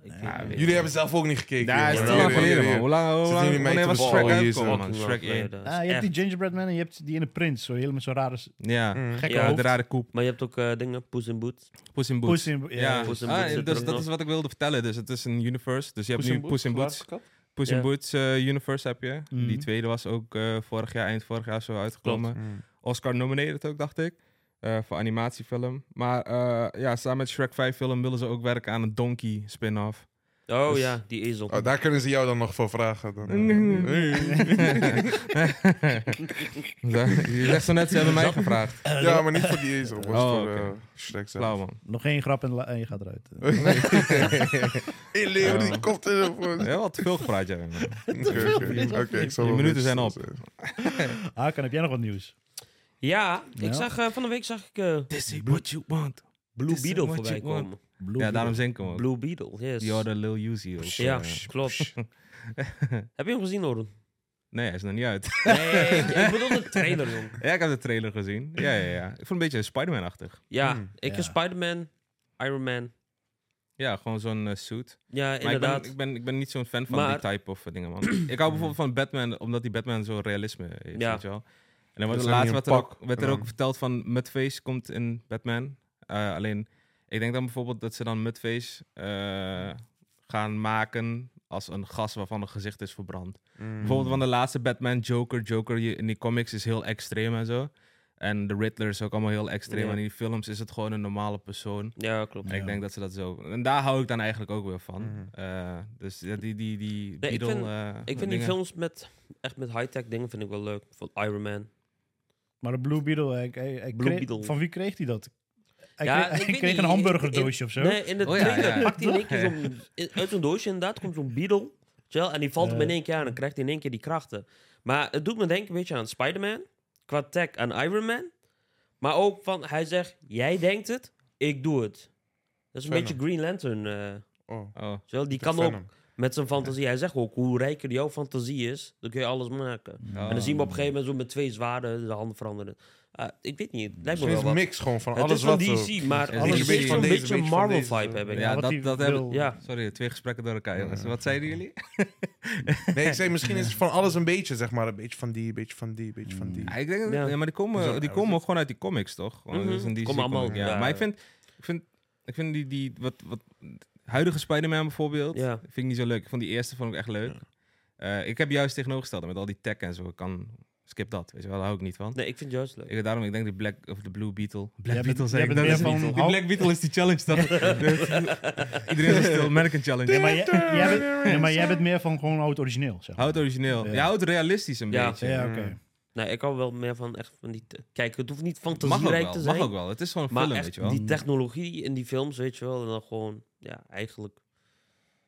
Speaker 5: Ik weet
Speaker 7: Ja,
Speaker 5: het niet.
Speaker 8: Jullie hebben zelf ook niet gekeken.
Speaker 7: Ja,
Speaker 8: jongen.
Speaker 7: is te
Speaker 5: wel
Speaker 7: lang
Speaker 5: weer,
Speaker 7: geleden, man. Hoe lang, hoe
Speaker 8: Zitten
Speaker 7: lang,
Speaker 8: jullie mee
Speaker 7: wanneer
Speaker 8: te
Speaker 7: was
Speaker 8: ballen?
Speaker 7: Shrek
Speaker 8: Oh, jezus,
Speaker 7: uitgekomen, man?
Speaker 5: Hoe lang
Speaker 7: Shrek 1.
Speaker 5: geleden?
Speaker 6: Ah, je hebt
Speaker 5: Echt.
Speaker 6: die Gingerbread Man en je hebt die in de Prins. Zo, helemaal zo'n rare... s-
Speaker 7: eh, Ja, Hmm.
Speaker 8: Mm.
Speaker 6: Gekke
Speaker 5: Ja.
Speaker 7: ja de
Speaker 6: hoofd.
Speaker 7: rare koep.
Speaker 5: Maar je hebt ook eh, dingen, Poes in Boots.
Speaker 7: Puss in Boots.
Speaker 6: Poes in... Ja.
Speaker 7: Ja,
Speaker 5: Poes in
Speaker 7: Ah,
Speaker 5: Boots zit er
Speaker 7: dus
Speaker 5: ook
Speaker 7: dat
Speaker 5: nog.
Speaker 7: is wat ik wilde vertellen. Dus het is een universe. Dus je hebt nu Puss in Boots. Puss in
Speaker 5: Ja.
Speaker 7: Boots eh, universe heb je.
Speaker 6: Mhm.
Speaker 7: Die tweede was ook eh, vorig jaar, eind vorig jaar zo uitgekomen.
Speaker 8: Mm.
Speaker 7: Oscar nomineerd ook, dacht ik. eh, voor animatiefilm. Maar eh, ja, samen met Shrek 5 film willen ze ook werken aan een Donkey spin-off.
Speaker 5: Oh
Speaker 7: Dus-
Speaker 5: ja, die ezel.
Speaker 8: Oh, daar kunnen ze jou dan nog voor vragen. Dan, eh.
Speaker 7: je zegt zo net, ze hebben mij gevraagd.
Speaker 8: Ja, maar niet voor die ezel. Was
Speaker 7: Oh,
Speaker 8: voor
Speaker 7: oké.
Speaker 8: eh, Shrek zelf.
Speaker 7: Blauw man.
Speaker 6: Nog één grap en, la- en je gaat eruit. Eh,
Speaker 8: Hey, Leo, die
Speaker 7: Oh.
Speaker 8: komt er voor.
Speaker 7: Heel wat veel gepraat, jij. man.
Speaker 8: Oké, oké. Oké, ik zal
Speaker 7: Die
Speaker 8: wel
Speaker 7: minuten zijn
Speaker 8: rustig
Speaker 7: op.
Speaker 8: zijn.
Speaker 6: Hakan, heb jij nog wat nieuws?
Speaker 5: Ja,
Speaker 6: Ja.
Speaker 5: ik zag eh, van de week zag ik eh,
Speaker 7: This is what you want.
Speaker 5: Blue
Speaker 7: This is eh,
Speaker 5: Beetle
Speaker 7: what
Speaker 5: voorbij
Speaker 7: you want.
Speaker 5: komen.
Speaker 7: Ja, daarom zinken we ook.
Speaker 5: Blue Beetle, yes.
Speaker 7: Die hadden Lil Uzi ook.
Speaker 5: ja,
Speaker 7: eh.
Speaker 5: klopt. Heb je hem gezien, Oren?
Speaker 7: Nee, hij is nog niet uit.
Speaker 5: Nee, ik bedoel de trailer, jong.
Speaker 7: ja, ik heb de trailer gezien. Ja, ja, ja. Ik vond het een beetje Spider-Man-achtig.
Speaker 5: Ja, ik
Speaker 6: ja.
Speaker 5: heb Spider-Man, Iron Man.
Speaker 7: Ja, gewoon zo'n eh, suit.
Speaker 5: Ja,
Speaker 7: Maar ik
Speaker 5: inderdaad.
Speaker 7: ben, ik, ben, ik ben niet zo'n fan van
Speaker 5: Maar-
Speaker 7: die type of eh, dingen, man. ik hou bijvoorbeeld van Batman, omdat die Batman zo'n realisme heeft,
Speaker 5: Ja.
Speaker 7: weet je wel. En dan wordt
Speaker 8: is
Speaker 7: er
Speaker 8: dan
Speaker 7: laatst
Speaker 8: niet
Speaker 7: werd
Speaker 8: een
Speaker 7: er,
Speaker 8: pak,
Speaker 7: ook, werd er
Speaker 8: en
Speaker 7: ook
Speaker 8: dan-
Speaker 7: verteld van Mudface komt in Batman. Eh, alleen, ik denk dan bijvoorbeeld dat ze dan Mudface eh, gaan maken als een gas waarvan het gezicht is verbrand.
Speaker 8: Mm.
Speaker 7: Bijvoorbeeld van de laatste Batman Joker. Joker je- in die comics is heel extreem en zo. En de Riddler is ook allemaal heel extreem.
Speaker 5: Ja.
Speaker 7: En in die films is het gewoon een normale persoon.
Speaker 5: Ja, klopt.
Speaker 7: En ik denk dat ze dat zo... En daar hou ik dan eigenlijk ook weer van. Eh, dus ja, die, die, die
Speaker 5: Nee, ik
Speaker 7: Beatle...
Speaker 5: vind-
Speaker 7: eh,
Speaker 5: Ik vind die
Speaker 7: dingen.
Speaker 5: films met, echt met high-tech dingen vind ik wel leuk. Van Iron Man.
Speaker 6: Maar de Blue Beetle, eh, hij, hij- hij
Speaker 5: Blue
Speaker 6: kreeg-
Speaker 5: Beetle.
Speaker 6: van wie kreeg hij dat? Hij
Speaker 5: Ja,
Speaker 6: kreeg, hij
Speaker 5: ik weet
Speaker 6: kreeg
Speaker 5: niet,
Speaker 6: een
Speaker 5: in-
Speaker 6: hamburgerdoosje of zo.
Speaker 5: Nee, in de
Speaker 7: Oh ja,
Speaker 5: trailer
Speaker 7: ja.
Speaker 5: pakt hij in één keer zo'n... in- Uit zo'n doosje inderdaad komt zo'n Beetle. weet je wel, En die valt hem
Speaker 6: Ja.
Speaker 5: in één keer aan. En dan krijgt hij in één keer die krachten. Maar het doet me denken een beetje aan Spider-Man. Qua tech aan Iron Man. Maar ook van... Hij zegt, jij denkt het, ik doe het. Dat is een
Speaker 8: Venom.
Speaker 5: beetje Green Lantern. eh,
Speaker 8: Oh,
Speaker 7: Oh.
Speaker 5: weet je wel, Die
Speaker 8: ik heb
Speaker 5: kan ook
Speaker 8: Venom.
Speaker 5: met zijn fantasie. Hij zegt ook, hoe rijker jouw fantasie is, dan kun je alles maken. En
Speaker 7: oh.
Speaker 5: dan zien we op een gegeven moment zo met twee zwaarden de handen veranderen. Ah, ik weet niet, het lijkt me
Speaker 8: Het is
Speaker 5: wel
Speaker 8: een
Speaker 5: wat.
Speaker 8: mix gewoon van
Speaker 5: Het
Speaker 8: alles
Speaker 5: is van
Speaker 8: wat zo-
Speaker 5: DC, maar
Speaker 7: Het
Speaker 5: alles
Speaker 7: is
Speaker 5: is
Speaker 7: een beetje
Speaker 5: een
Speaker 7: van
Speaker 8: deze,
Speaker 5: beetje
Speaker 8: een beetje van deze.
Speaker 5: Marvel-vibe, heb ik.
Speaker 7: Ja,
Speaker 6: wat
Speaker 7: dat,
Speaker 6: hij
Speaker 7: dat heb
Speaker 6: wil.
Speaker 7: ik.
Speaker 5: Ja.
Speaker 7: Sorry, twee gesprekken door elkaar, jongens. Wat zeiden jullie?
Speaker 8: Nee, ik zei misschien is het van alles een beetje, zeg maar. Een beetje van die, een beetje van die, een beetje van die.
Speaker 7: Ja, ik denk, dat-
Speaker 5: Ja.
Speaker 7: ja, maar die komen, die komen ook gewoon uit die comics, toch? Gewoon,
Speaker 5: Mhm.
Speaker 7: dat is een DC
Speaker 5: Komen allemaal,
Speaker 7: comic, ja.
Speaker 5: ja.
Speaker 7: Maar ik vind, ik vind, ik vind die, die wat, wat huidige Spider-Man bijvoorbeeld,
Speaker 5: Ja.
Speaker 7: vind ik niet zo leuk. Ik vond die eerste vond ik echt leuk. Eh, ik heb juist tegenovergesteld met al die tech en zo. Ik kan, skip dat, weet je wel, daar hou ik niet van.
Speaker 5: Nee, ik vind het juist leuk.
Speaker 7: Ik, daarom, ik denk die Black of de Blue Beetle. Black
Speaker 6: Jij bent-
Speaker 7: Beetle
Speaker 6: jij
Speaker 7: zei ik.
Speaker 6: bent
Speaker 7: Dat
Speaker 6: meer
Speaker 7: is
Speaker 6: van
Speaker 7: niet- die
Speaker 6: Hulk.
Speaker 7: Black Beetle is die challenge dan. Iedereen is stil, merk een challenge.
Speaker 6: Nee, maar, jij, jij bent, nee, maar jij bent meer van gewoon oud origineel. Zeg. maar.
Speaker 7: Houd origineel.
Speaker 6: Ja.
Speaker 7: Ja, houd realistisch een
Speaker 5: Ja.
Speaker 7: beetje.
Speaker 6: Ja, oké.
Speaker 5: Nee, ik hou wel meer van echt van die... te- Kijk, het hoeft niet
Speaker 7: Mag ook
Speaker 5: fantasierijk te
Speaker 7: wel,
Speaker 5: zijn.
Speaker 7: mag ook wel. Het is gewoon een
Speaker 5: Maar
Speaker 7: film, weet
Speaker 5: echt
Speaker 7: je wel. Mm.
Speaker 5: die technologie in die films, weet je wel. En dan gewoon, ja, eigenlijk...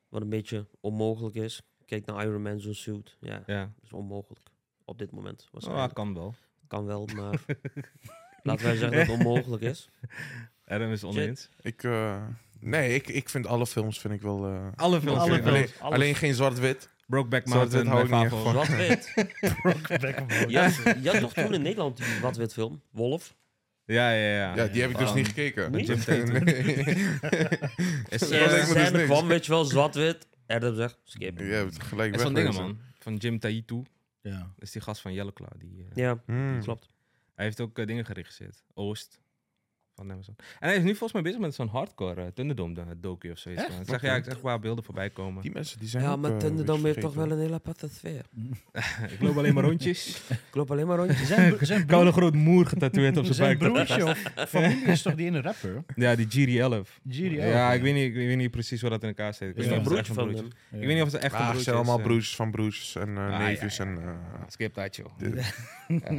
Speaker 5: Wat een beetje onmogelijk is. Kijk naar Iron Man, zo'n suit. Ja,
Speaker 7: Ja,
Speaker 5: dat is onmogelijk. Op dit moment.
Speaker 7: Ah,
Speaker 5: Waarschijnlijk.
Speaker 7: kan wel.
Speaker 5: Kan wel, maar... laten wij zeggen dat het onmogelijk is.
Speaker 7: Adam is oneens.
Speaker 8: Ik, eh, nee, ik, ik vind alle films vind ik wel... eh,
Speaker 7: Alle films.
Speaker 6: Alle
Speaker 7: Alle
Speaker 6: films.
Speaker 8: alleen, alleen geen zwart-wit.
Speaker 7: Brokeback
Speaker 8: Zwart-wit
Speaker 7: Mountain,
Speaker 8: hou
Speaker 7: mijn
Speaker 8: ik niet echt
Speaker 7: favo.
Speaker 8: van.
Speaker 5: Wat weet.
Speaker 6: Brokeback
Speaker 7: Oh,
Speaker 6: Mountain.
Speaker 5: Ja, je had toch toen in Nederland die wat wit film? Wolf?
Speaker 7: Ja, ja, ja.
Speaker 8: Ja, die heb ik dus
Speaker 7: Van-
Speaker 8: niet gekeken.
Speaker 5: Niet?
Speaker 7: Jim Tatum.
Speaker 8: Nee.
Speaker 7: Is
Speaker 5: Ja,
Speaker 7: is-
Speaker 8: lijkt me dus
Speaker 5: Scène
Speaker 8: niks.
Speaker 5: kwam, weet je wel, zwart-wit. Adam zegt, skip.
Speaker 8: Je hebt gelijk
Speaker 7: is
Speaker 8: weg.
Speaker 7: zo'n ding, man. Van Jim Taitu.
Speaker 6: Ja.
Speaker 7: Dat is die gast van Yellowclaw. Die, eh,
Speaker 5: Ja,
Speaker 8: Hmm.
Speaker 5: klopt.
Speaker 7: Hij heeft ook eh, dingen geregisseerd. Oost. Van Amazon. En hij is nu volgens mij bezig met zo'n hardcore eh Thunderdome eh, docu of zoiets. Ik zag, ja, ik zag waar beelden voorbij komen.
Speaker 8: Die mensen die zijn
Speaker 5: Ja,
Speaker 8: ook, eh,
Speaker 5: maar
Speaker 8: een beetje
Speaker 5: Thunderdome heeft toch wel
Speaker 8: vergeten.
Speaker 5: een hele aparte sfeer.
Speaker 7: ik loop alleen maar rondjes.
Speaker 5: Ik loop alleen maar rondjes.
Speaker 6: Zijn, bro- zijn,
Speaker 7: Koude
Speaker 6: broer,
Speaker 7: groot moer getatoeëerd op zijn
Speaker 6: zijn
Speaker 7: buik.
Speaker 6: broertje of familie is toch die ene rapper?
Speaker 7: Ja, die GD11.
Speaker 6: Jiri
Speaker 7: Ja, ik weet, niet, ik weet niet precies waar dat in elkaar zit. Ik,
Speaker 6: Is
Speaker 7: weet
Speaker 6: dat
Speaker 7: niet of het echt
Speaker 5: Broertje
Speaker 7: een
Speaker 5: van
Speaker 7: broertje
Speaker 5: hem.
Speaker 7: Ik weet niet of het echt een
Speaker 8: Ah,
Speaker 7: broertje
Speaker 8: ze
Speaker 7: is.
Speaker 8: zijn allemaal
Speaker 7: eh.
Speaker 8: broers van broers en eh,
Speaker 5: Ah,
Speaker 7: ja,
Speaker 8: neefjes
Speaker 7: ja,
Speaker 8: en... eh,
Speaker 7: Skip dat, joh.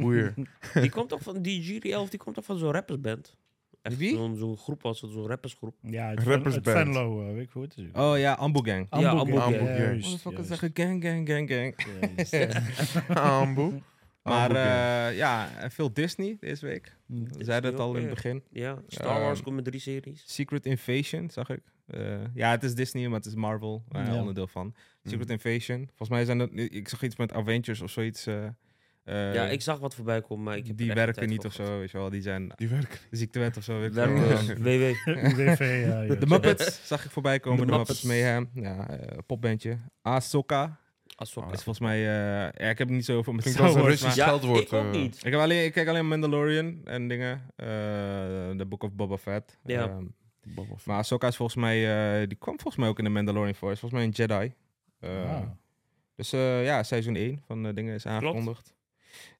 Speaker 8: Boeier.
Speaker 5: Die komt toch van die Jury 11, die komt toch van zo'n rappersband? Echt
Speaker 7: Wie?
Speaker 5: Zo'n zo'n groep was het, zo'n rappersgroep.
Speaker 6: Ja, het,
Speaker 8: Rappers
Speaker 6: het
Speaker 8: band.
Speaker 6: Venlo, eh, weet ik hoe het is. eh,
Speaker 7: Oh ja, Ambu Gang.
Speaker 5: Ja, Amboek,
Speaker 8: Amboek, ja.
Speaker 7: Motherfuckers zeggen gang, gang, gang, gang.
Speaker 8: Ambu.
Speaker 7: Maar
Speaker 8: Ambu, ja.
Speaker 7: eh, ja, en veel Disney deze week. We zeiden het
Speaker 5: Mm, ook
Speaker 7: al in het
Speaker 5: weer.
Speaker 7: begin.
Speaker 5: Ja, Star
Speaker 7: Ehm,
Speaker 5: Wars komt met drie series.
Speaker 7: Secret Invasion, zag ik. Eh, ja, het is Disney, maar het is Marvel, eh,
Speaker 6: Ja.
Speaker 7: onderdeel van. Secret Invasion. Volgens mij zijn dat... Ik zag iets met Avengers of zoiets. eh, eh,
Speaker 5: ja, ik zag wat voorbij komen, maar ik heb
Speaker 7: die
Speaker 5: er echt geen
Speaker 7: werken
Speaker 5: tijd
Speaker 7: niet
Speaker 5: voor
Speaker 7: of zo, weet je wel. Die zijn
Speaker 8: Die werken.
Speaker 7: ziektewet of zo. weet ik eh,
Speaker 5: gehad.
Speaker 7: veel.
Speaker 5: Werken, WW.
Speaker 6: UWV, ja. ja.
Speaker 7: De Muppets zag ik voorbij komen.
Speaker 5: De
Speaker 7: De, Muppets.
Speaker 5: Muppets.
Speaker 7: Mayhem. Ja, eh, popbandje. Ahsoka.
Speaker 5: Ahsoka.
Speaker 7: Is volgens mij... eh, ja, ik heb het niet zo over met
Speaker 8: Klinkt
Speaker 7: Star
Speaker 8: als een
Speaker 7: Wars,
Speaker 8: Russisch
Speaker 7: maar-
Speaker 8: scheldwoord.
Speaker 5: ik ook
Speaker 8: eh.
Speaker 5: niet.
Speaker 7: Ik, heb alleen, ik kijk alleen Mandalorian en dingen. eh, De Book of Boba Fett.
Speaker 5: Ja.
Speaker 7: Ehm, maar Ahsoka is volgens mij... eh, die kwam volgens mij ook in de Mandalorian voor. Is volgens mij een Jedi. Eh,
Speaker 6: Ah.
Speaker 7: Dus eh, ja, seizoen 1 van eh, dingen is aangekondigd.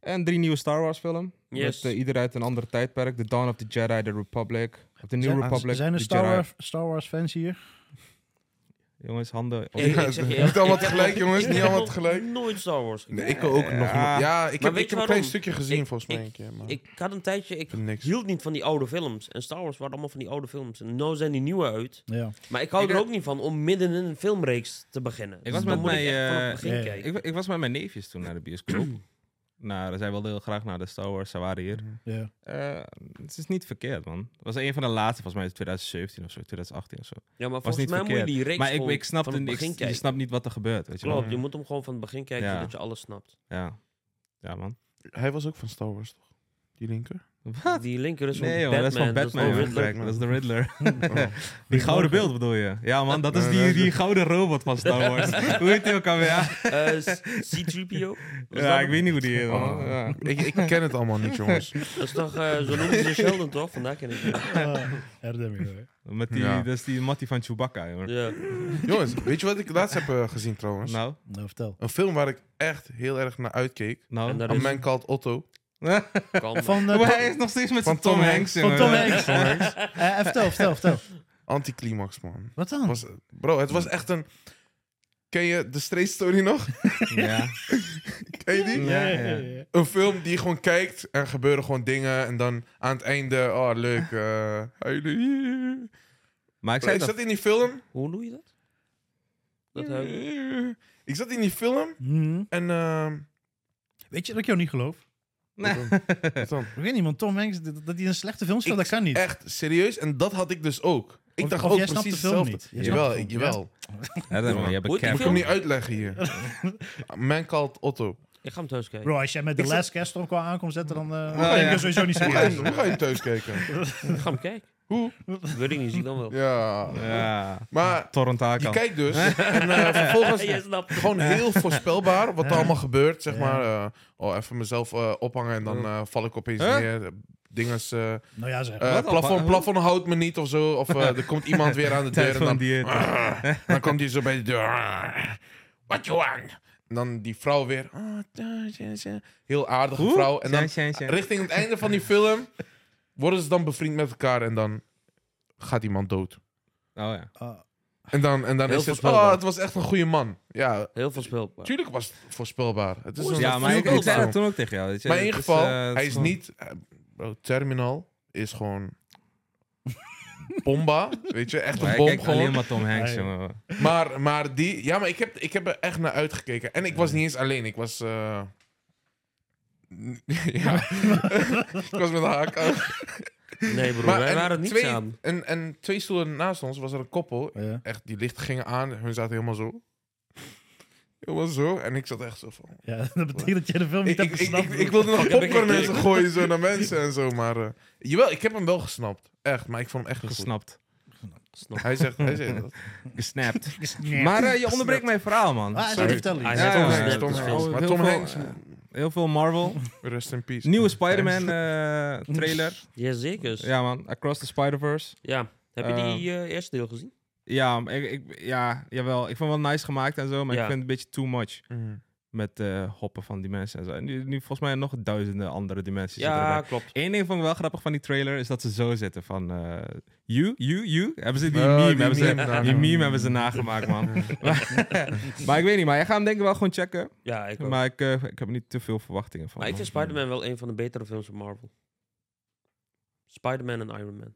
Speaker 7: En drie nieuwe Star Wars film.
Speaker 5: Yes.
Speaker 7: Met eh, ieder uit een ander tijdperk. The Dawn of the Jedi, The Republic. The New
Speaker 6: Zijn-
Speaker 7: Republic,
Speaker 6: Zijn er
Speaker 7: The
Speaker 6: Star
Speaker 7: Jedi.
Speaker 6: Wars, Star Wars fans hier?
Speaker 7: Jongens, handen... op-
Speaker 5: Ik- ik zeg je
Speaker 8: Niet
Speaker 5: eerlijk,
Speaker 8: allemaal
Speaker 5: ik heb
Speaker 8: tegelijk,
Speaker 5: nog-
Speaker 8: jongens,
Speaker 5: ik
Speaker 8: niet
Speaker 5: heb
Speaker 8: allemaal
Speaker 5: nog
Speaker 8: tegelijk.
Speaker 5: nooit Star Wars gekeken.
Speaker 8: Nee, ik ook nog.
Speaker 7: Ja.
Speaker 8: Ja, ik
Speaker 5: Maar weet
Speaker 8: heb, ik
Speaker 5: je
Speaker 8: heb een klein
Speaker 5: waarom?
Speaker 8: stukje gezien
Speaker 5: Ik-
Speaker 8: volgens mij.
Speaker 5: ik-
Speaker 8: een keer, maar
Speaker 5: Ik had een tijdje, ik
Speaker 8: ik vind niks.
Speaker 5: hield niet van die oude films. En Star Wars waren allemaal van die oude films. En nu zijn die nieuwe uit.
Speaker 6: Ja.
Speaker 5: Maar ik hou
Speaker 8: Ik
Speaker 5: er
Speaker 8: denk-
Speaker 5: ook niet van om midden in een filmreeks te beginnen. Dus
Speaker 7: was
Speaker 5: dan
Speaker 7: met
Speaker 5: moet
Speaker 7: mijn,
Speaker 5: ik echt vanaf het
Speaker 7: eh,
Speaker 5: begin
Speaker 6: ja,
Speaker 5: kijken.
Speaker 7: Ik, wa- ik was met mijn neefjes toen naar de bioscoop. nou, zij wilden heel graag naar de Star Wars. Ze waren hier.
Speaker 6: ja.
Speaker 7: Eh, het is niet verkeerd, man. Het was een van de laatste, volgens mij is het 2017 of zo, 2018 of zo.
Speaker 5: Ja, maar
Speaker 7: was
Speaker 5: volgens
Speaker 7: niet
Speaker 5: mij moet je
Speaker 7: verkeerd.
Speaker 5: die reeks
Speaker 7: maar ik,
Speaker 5: gewoon
Speaker 7: ik snap
Speaker 5: van het
Speaker 7: het, ik,
Speaker 5: begin
Speaker 7: je
Speaker 5: kijken.
Speaker 7: snapt niet wat er gebeurt, weet je wel.
Speaker 5: Klopt, je moet hem gewoon van het begin kijken,
Speaker 7: Ja.
Speaker 5: zodat je alles snapt.
Speaker 7: Ja. Ja, man.
Speaker 8: Hij was ook van Star Wars, toch? Die linker?
Speaker 7: Wat?
Speaker 5: Die linker is
Speaker 7: Nee,
Speaker 5: van
Speaker 7: joh,
Speaker 5: Batman.
Speaker 7: dat is van Batman.
Speaker 5: gewoon
Speaker 7: joh.
Speaker 5: Riddler.
Speaker 7: Kijk, Dat is de Riddler.
Speaker 8: Oh.
Speaker 7: Die gouden beeld bedoel je? Ja, man, dat is die, die gouden robot van Star Wars. hoe heet die ook alweer?
Speaker 5: Eh, C- C-3PO? Was
Speaker 7: Ja,
Speaker 5: dat-
Speaker 7: ik weet niet hoe die heet, man.
Speaker 8: Oh.
Speaker 7: Ja.
Speaker 8: ik, ik ken het allemaal niet, jongens.
Speaker 5: Dat is toch, eh, zo noemen ze Sheldon toch? Vandaar ken ik hem.
Speaker 6: Erdem hier.
Speaker 7: Met die,
Speaker 8: Ja.
Speaker 7: Dat is die mattie van Chewbacca, jongen.
Speaker 5: Ja.
Speaker 8: jongens, weet je wat ik laatst heb eh, gezien trouwens?
Speaker 7: Nou,
Speaker 6: Nou, vertel.
Speaker 8: Een film waar ik echt heel erg naar uitkeek.
Speaker 5: En
Speaker 7: nou.
Speaker 5: daar
Speaker 8: A
Speaker 5: is
Speaker 8: Man Called Otto.
Speaker 5: kalm.
Speaker 6: Van, eh,
Speaker 7: Maar
Speaker 6: Tom-
Speaker 7: hij is nog steeds met
Speaker 8: Van
Speaker 7: zijn Tom,
Speaker 8: Tom
Speaker 7: Hanks.
Speaker 6: van
Speaker 7: jongen.
Speaker 6: Tom Hanks. Eh, eh, vertel, vertel, vertel.
Speaker 8: Anticlimax, man.
Speaker 6: Wat dan?
Speaker 8: Was, bro, het was echt een... Ken je de Straight Story nog?
Speaker 7: Ja.
Speaker 8: Ken je die?
Speaker 7: Ja,
Speaker 6: ja,
Speaker 7: ja.
Speaker 6: ja.
Speaker 8: Een film die je gewoon kijkt en gebeuren gewoon dingen. En dan aan het einde, oh leuk. eh, hi, jullie.
Speaker 7: Maar ik
Speaker 8: Bro,
Speaker 7: zei
Speaker 8: ik
Speaker 7: dat.
Speaker 8: zat in die film.
Speaker 5: Hoe doe je dat? Dat hij-
Speaker 8: Ik zat in die film
Speaker 6: Hm.
Speaker 8: en... ehm,
Speaker 6: Weet je dat ik jou niet geloof?
Speaker 8: wat dan?
Speaker 6: Ik weet niet, man. Tom Hanks, dat dat hij een slechte film speelt, dat kan niet.
Speaker 8: Echt serieus. En dat had ik dus ook. Ik
Speaker 6: Of-
Speaker 8: dacht
Speaker 6: of
Speaker 8: ook
Speaker 6: jij snapt
Speaker 8: precies
Speaker 6: de film
Speaker 8: hetzelfde.
Speaker 6: niet. Jij snapt
Speaker 8: Jawel,
Speaker 6: de film,
Speaker 8: jawel.
Speaker 7: Ja, dat- je hebt een
Speaker 5: Hoe heet die
Speaker 7: cap.
Speaker 8: Ik kan hem niet uitleggen hier. Man called Otto.
Speaker 5: Ik ga hem thuis kijken.
Speaker 6: Bro, als jij met The Last Cast op qua aankomt zetten, dan eh
Speaker 8: ja.
Speaker 6: ben ik er sowieso niet
Speaker 8: Hoe ga je-
Speaker 6: serieus.
Speaker 8: hoe ga je hem thuis kijken?
Speaker 5: Ik ga hem kijken.
Speaker 8: Hoe?
Speaker 5: Weet ik niet, zie ik dan wel.
Speaker 8: Ja.
Speaker 7: Ja,
Speaker 8: Maar
Speaker 7: torrent
Speaker 8: je
Speaker 7: aankant.
Speaker 8: kijkt dus. En eh, vervolgens
Speaker 5: Je snapt.
Speaker 8: gewoon heel voorspelbaar wat er allemaal gebeurt. Zeg maar. Eh, oh, even mezelf eh, ophangen en dan eh, val ik opeens
Speaker 7: Huh?
Speaker 8: neer. Dingen als... eh, eh,
Speaker 6: Nou ja, zeg.
Speaker 7: Wat?
Speaker 8: plafond, plafond houdt me niet of zo. Of eh, er komt iemand weer aan de deur. En
Speaker 7: Telefoon
Speaker 8: dan,
Speaker 7: die-
Speaker 8: Ah, dan komt hij zo bij de deur. Ah, What you want? En dan die vrouw weer. ah, tja, tja, tja. Heel aardige
Speaker 7: Hoe?
Speaker 8: vrouw. En dan
Speaker 7: Tja, tja, tja.
Speaker 8: richting het einde van die film worden ze dan bevriend met elkaar en dan gaat iemand dood.
Speaker 7: Oh ja.
Speaker 6: Ah,
Speaker 8: En dan, en dan
Speaker 5: Heel
Speaker 8: is het,
Speaker 5: voorspelbaar.
Speaker 8: oh, het was echt een goede man. Ja,
Speaker 5: Heel voorspelbaar.
Speaker 8: tuurlijk was het voorspelbaar. Het is een
Speaker 7: Ja, maar ik, ik zei dat toen ook tegen jou. Weet je.
Speaker 8: Maar in ieder
Speaker 7: Het is,
Speaker 8: geval,
Speaker 7: eh, het
Speaker 8: hij is
Speaker 7: gewoon-
Speaker 8: niet... eh, Bro, Terminal is gewoon... Bomba, weet je, echt
Speaker 7: Maar
Speaker 8: een
Speaker 7: hij
Speaker 8: bom
Speaker 7: kijkt
Speaker 8: gewoon.
Speaker 7: alleen maar Tom Hanks,
Speaker 6: Nee.
Speaker 7: jongen.
Speaker 8: Maar, maar die... Ja, maar ik heb, ik heb er echt naar uitgekeken. En ik was niet eens alleen. Ik was... eh, ja. ik was met de haak aan.
Speaker 5: Nee, broer,
Speaker 8: Maar
Speaker 5: wij
Speaker 8: en
Speaker 5: waren het niet
Speaker 8: twee,
Speaker 5: samen.
Speaker 8: En, en twee stoelen naast ons was er een koppel.
Speaker 6: ja.
Speaker 8: Echt, die lichten gingen aan. Hun zaten helemaal zo. Helemaal zo. En ik zat echt zo van...
Speaker 6: ja, dat betekent dat je de film niet
Speaker 8: Ik, ik,
Speaker 6: hebt
Speaker 8: ik,
Speaker 6: gesnapt.
Speaker 8: ik, ik wilde nog
Speaker 5: heb ik
Speaker 8: popcorn en zo
Speaker 5: gekeken?
Speaker 8: gooien zo naar mensen en zo. Maar eh, jawel, ik heb hem wel gesnapt. Echt, maar ik vond hem echt niet goed.
Speaker 7: Gesnapt. Oh,
Speaker 8: Hij zegt... Hij zegt dat.
Speaker 7: Gesnapt.
Speaker 6: dus- Nee.
Speaker 7: Maar eh, je onderbreekt mijn verhaal, man.
Speaker 6: Ah,
Speaker 7: Sorry.
Speaker 6: dat vertel
Speaker 5: Hij
Speaker 6: je.
Speaker 5: zegt
Speaker 7: Ja,
Speaker 5: wel
Speaker 7: ja,
Speaker 5: snel,
Speaker 7: ja,
Speaker 8: Tom
Speaker 5: het is
Speaker 8: Hanks.
Speaker 5: veel.
Speaker 8: Maar
Speaker 7: Heel
Speaker 8: Tom
Speaker 7: veel,
Speaker 8: Hanks-
Speaker 7: eh, Heel veel Marvel.
Speaker 8: Rest in peace.
Speaker 7: Nieuwe Spider-Man eh, trailer.
Speaker 5: Jazekers. Ja.
Speaker 7: Ja, man. Across the Spider-Verse.
Speaker 5: Heb je
Speaker 7: Eh,
Speaker 5: die eh, eerste deel gezien?
Speaker 7: Ja, maar ik, ik, ja, jawel. Ik vond het wel nice gemaakt en zo, maar
Speaker 5: Ja.
Speaker 7: ik vind het een beetje too much.
Speaker 8: Mhm.
Speaker 7: Met eh, hoppen van die mensen en zo. En nu, nu volgens mij nog duizenden andere dimensies.
Speaker 5: Ja, klopt.
Speaker 7: Eén ding vond ik wel grappig van die trailer is dat ze zo zitten van... eh, you, you, you. Hebben ze die
Speaker 8: Oh,
Speaker 7: meme,
Speaker 8: die
Speaker 7: hebben,
Speaker 8: meme
Speaker 7: ze,
Speaker 8: daar.
Speaker 7: die meme hebben ze nagemaakt, man. maar, maar ik weet niet, maar jij gaat hem denk ik wel gewoon checken.
Speaker 5: Ja, ik ook. Maar,
Speaker 7: Maar ik, eh, ik heb er niet te veel verwachtingen van.
Speaker 5: ik vind Spider-Man wel een van de betere films van Marvel. Spider-Man en Iron Man.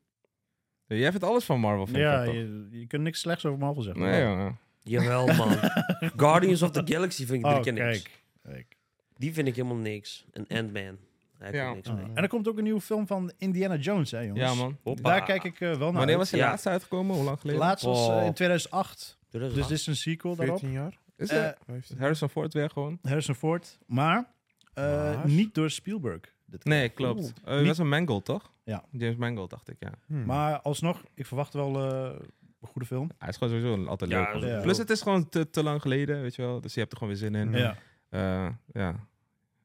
Speaker 7: Jij vindt alles van Marvel, vind ik
Speaker 6: Ja,
Speaker 7: dat toch?
Speaker 6: je, je kunt niks slechts over Marvel zeggen.
Speaker 7: Nee, jongen.
Speaker 5: Jawel, man. Guardians of the Galaxy vind ik
Speaker 6: Oh,
Speaker 5: drie keer niks.
Speaker 6: kijk. kijk.
Speaker 5: Die vind ik helemaal niks. En Ant-Man. Daar heb ik
Speaker 7: Ja.
Speaker 5: niks
Speaker 6: Ah,
Speaker 5: mee.
Speaker 6: En er komt ook een nieuwe film van Indiana Jones, hè jongens.
Speaker 7: Ja, man.
Speaker 5: Hoppa.
Speaker 6: Daar kijk ik eh, wel naar
Speaker 7: Wanneer
Speaker 6: uit.
Speaker 7: was die
Speaker 5: Ja.
Speaker 7: laatste uitgekomen? Hoe lang geleden?
Speaker 6: Laatst was eh, in 2008,
Speaker 5: Dit is
Speaker 6: dus
Speaker 5: waar.
Speaker 6: dit is een sequel daarop.
Speaker 8: 14 jaar?
Speaker 7: Is
Speaker 6: Eh,
Speaker 7: het Harrison Ford weer gewoon?
Speaker 6: Harrison Ford, maar, eh,
Speaker 8: Maar?
Speaker 6: niet door Spielberg. dit keer.
Speaker 7: Nee, klopt. Eh, dat
Speaker 6: Niet-
Speaker 7: was een Mangold, toch?
Speaker 6: Ja.
Speaker 7: James Mangold, dacht ik, ja.
Speaker 8: Hmm.
Speaker 6: Maar alsnog, ik verwacht wel eh, een goede film.
Speaker 7: Hij is gewoon sowieso altijd
Speaker 5: Ja,
Speaker 7: leuk.
Speaker 5: dat
Speaker 7: man.
Speaker 5: is
Speaker 6: Ja.
Speaker 7: Plus het is gewoon te, te lang geleden, weet je wel. Dus je hebt er gewoon weer zin in.
Speaker 6: Ja.
Speaker 7: Eh, ja.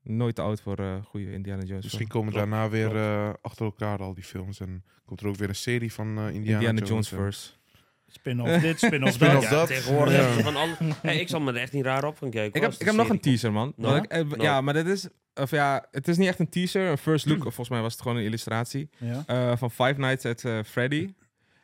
Speaker 7: Nooit te oud voor eh goede Indiana Jones.
Speaker 8: Misschien
Speaker 7: films.
Speaker 8: komen daarna weer eh, achter elkaar al die films. En komt er ook weer een serie van eh, Indiana,
Speaker 7: Indiana
Speaker 8: Jones.
Speaker 7: Jones verse.
Speaker 6: Spin-off dit, spin-off
Speaker 8: Spin-off
Speaker 6: dat.
Speaker 8: dat.
Speaker 5: Ja, tegenwoordig
Speaker 8: Ja.
Speaker 5: hebben ze van alles. Hey, ik zal me er echt niet raar op gaan kijken.
Speaker 7: Ik
Speaker 5: hoor,
Speaker 7: heb,
Speaker 5: als de
Speaker 7: ik heb nog een
Speaker 5: serie
Speaker 7: teaser, man.
Speaker 5: Nou?
Speaker 7: Wat ik- eh,
Speaker 5: Nou.
Speaker 7: Ja, maar dit is... Of ja, het is niet echt een teaser. Een first look. Volgens mij was het gewoon een illustratie.
Speaker 6: Ja.
Speaker 7: eh, van Five Nights at eh, Freddy.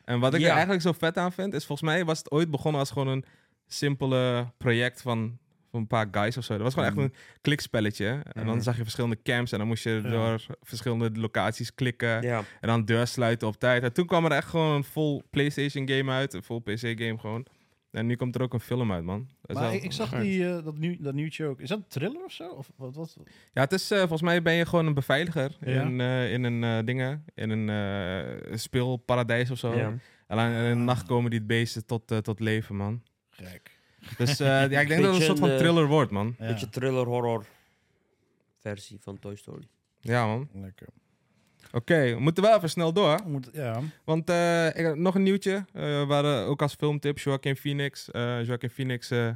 Speaker 7: En wat ik
Speaker 5: Ja.
Speaker 7: er eigenlijk zo vet aan vind, is volgens mij was het ooit begonnen als gewoon een simpele project van, van een paar guys of zo. Dat was gewoon echt een klikspelletje. En dan zag je verschillende camps en dan moest je door verschillende locaties klikken.
Speaker 5: komt. Ja.
Speaker 7: En dan deur sluiten op tijd. En toen kwam er echt gewoon een vol PlayStation game uit, een vol PC game gewoon. En nu komt er ook een film uit, man. Dat is
Speaker 6: Maar
Speaker 7: wel-
Speaker 6: ik, ik zag die, eh, dat, nieuw, dat nieuwtje ook. Is dat een thriller of zo? Of wat, wat?
Speaker 7: Ja, het is, eh, volgens mij ben je gewoon een beveiliger
Speaker 6: Ja.
Speaker 7: in, eh, in een eh, dingen, in een eh, speelparadijs of zo.
Speaker 5: Ja.
Speaker 7: En dan in de nacht komen die beesten tot, eh, tot leven, man.
Speaker 6: Gek.
Speaker 7: Dus eh, ja, ik denk dat het
Speaker 5: Beetje
Speaker 7: een soort van
Speaker 5: een, eh,
Speaker 7: thriller wordt, man.
Speaker 6: Ja,
Speaker 5: Beetje thriller-horror versie van Toy Story.
Speaker 7: Ja, man.
Speaker 6: lekker.
Speaker 7: Oké, we moeten wel even snel door.
Speaker 6: Moet, ja.
Speaker 7: Want eh, ik had nog een nieuwtje. Eh, we hadden ook als filmtip Joaquin Phoenix. Eh Joaquin Phoenix eh,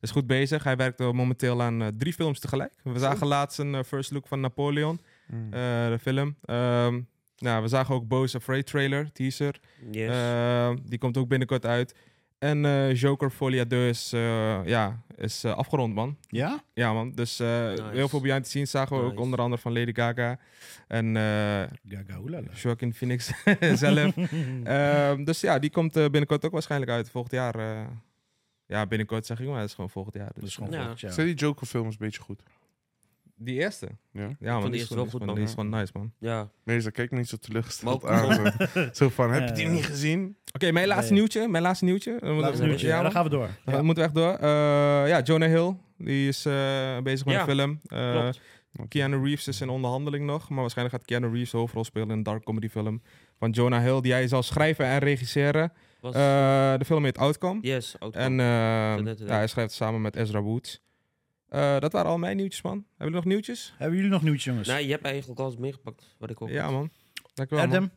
Speaker 7: is goed bezig. Hij werkt eh, momenteel aan eh, drie films tegelijk. We zagen laatst een eh, first look van Napoleon,
Speaker 8: Mm.
Speaker 7: eh, de film. Ehm, nou, we zagen ook Bo's Afraid trailer, teaser.
Speaker 5: Yes.
Speaker 7: Eh, die komt ook binnenkort uit. En eh, Joker Folia 2 is, eh, ja, is eh, afgerond, man.
Speaker 6: Ja?
Speaker 7: Ja, man. Dus eh, heel veel behind the scenes zagen we ook
Speaker 5: Nice.
Speaker 7: onder andere van Lady Gaga. En eh,
Speaker 6: Gaga, oelala.
Speaker 7: Joaquin Phoenix zelf. Ehm, dus ja, die komt eh, binnenkort ook waarschijnlijk uit. Volgend jaar. eh, ja, binnenkort zeg ik maar. Het is gewoon volgend jaar. Dus.
Speaker 6: Dat is gewoon
Speaker 5: Ja.
Speaker 6: volgend jaar.
Speaker 8: Zijn die Joker-films een beetje goed?
Speaker 7: Die eerste.
Speaker 8: Ja.
Speaker 7: Ja, man.
Speaker 5: die
Speaker 7: Die is
Speaker 5: eerste
Speaker 7: gewoon,
Speaker 5: wel goed,
Speaker 7: die is gewoon-
Speaker 5: man.
Speaker 7: die is gewoon nice, man. Oké,
Speaker 5: ja.
Speaker 8: Meestal kijk me niet zo teleurgesteld
Speaker 5: Maar ook-
Speaker 8: aan. Zo, zo van, heb je die
Speaker 6: Ja.
Speaker 8: niet gezien?
Speaker 7: mijn laatste
Speaker 6: Nee.
Speaker 7: nieuwtje. Mijn laatste nieuwtje. Dan moeten
Speaker 6: Laatste
Speaker 7: we-
Speaker 6: nieuwtje.
Speaker 7: Ja,
Speaker 6: Ja, dan
Speaker 7: man.
Speaker 6: gaan we door.
Speaker 7: Dan moeten we echt door. Eh, ja, Jonah Hill. Die is eh, bezig met
Speaker 5: Ja,
Speaker 7: een film. Eh,
Speaker 5: Klopt.
Speaker 7: Keanu Reeves is in onderhandeling nog, maar waarschijnlijk gaat Keanu Reeves de hoofdrol spelen in een dark comedy film van Jonah Hill, die hij zal schrijven en regisseren.
Speaker 5: Was,
Speaker 7: Eh, de film heet Outcome.
Speaker 5: yes, Outcome.
Speaker 7: En eh,
Speaker 5: net te
Speaker 7: ja, hij schrijft samen met Ezra Woods. Eh, dat waren al mijn nieuwtjes, man. Hebben jullie nog nieuwtjes?
Speaker 6: Hebben jullie nog nieuws, jongens?
Speaker 5: nou, je hebt eigenlijk alles meegepakt wat ik ook.
Speaker 7: eh, Ja, man. Dankjewel, man.
Speaker 6: Adam?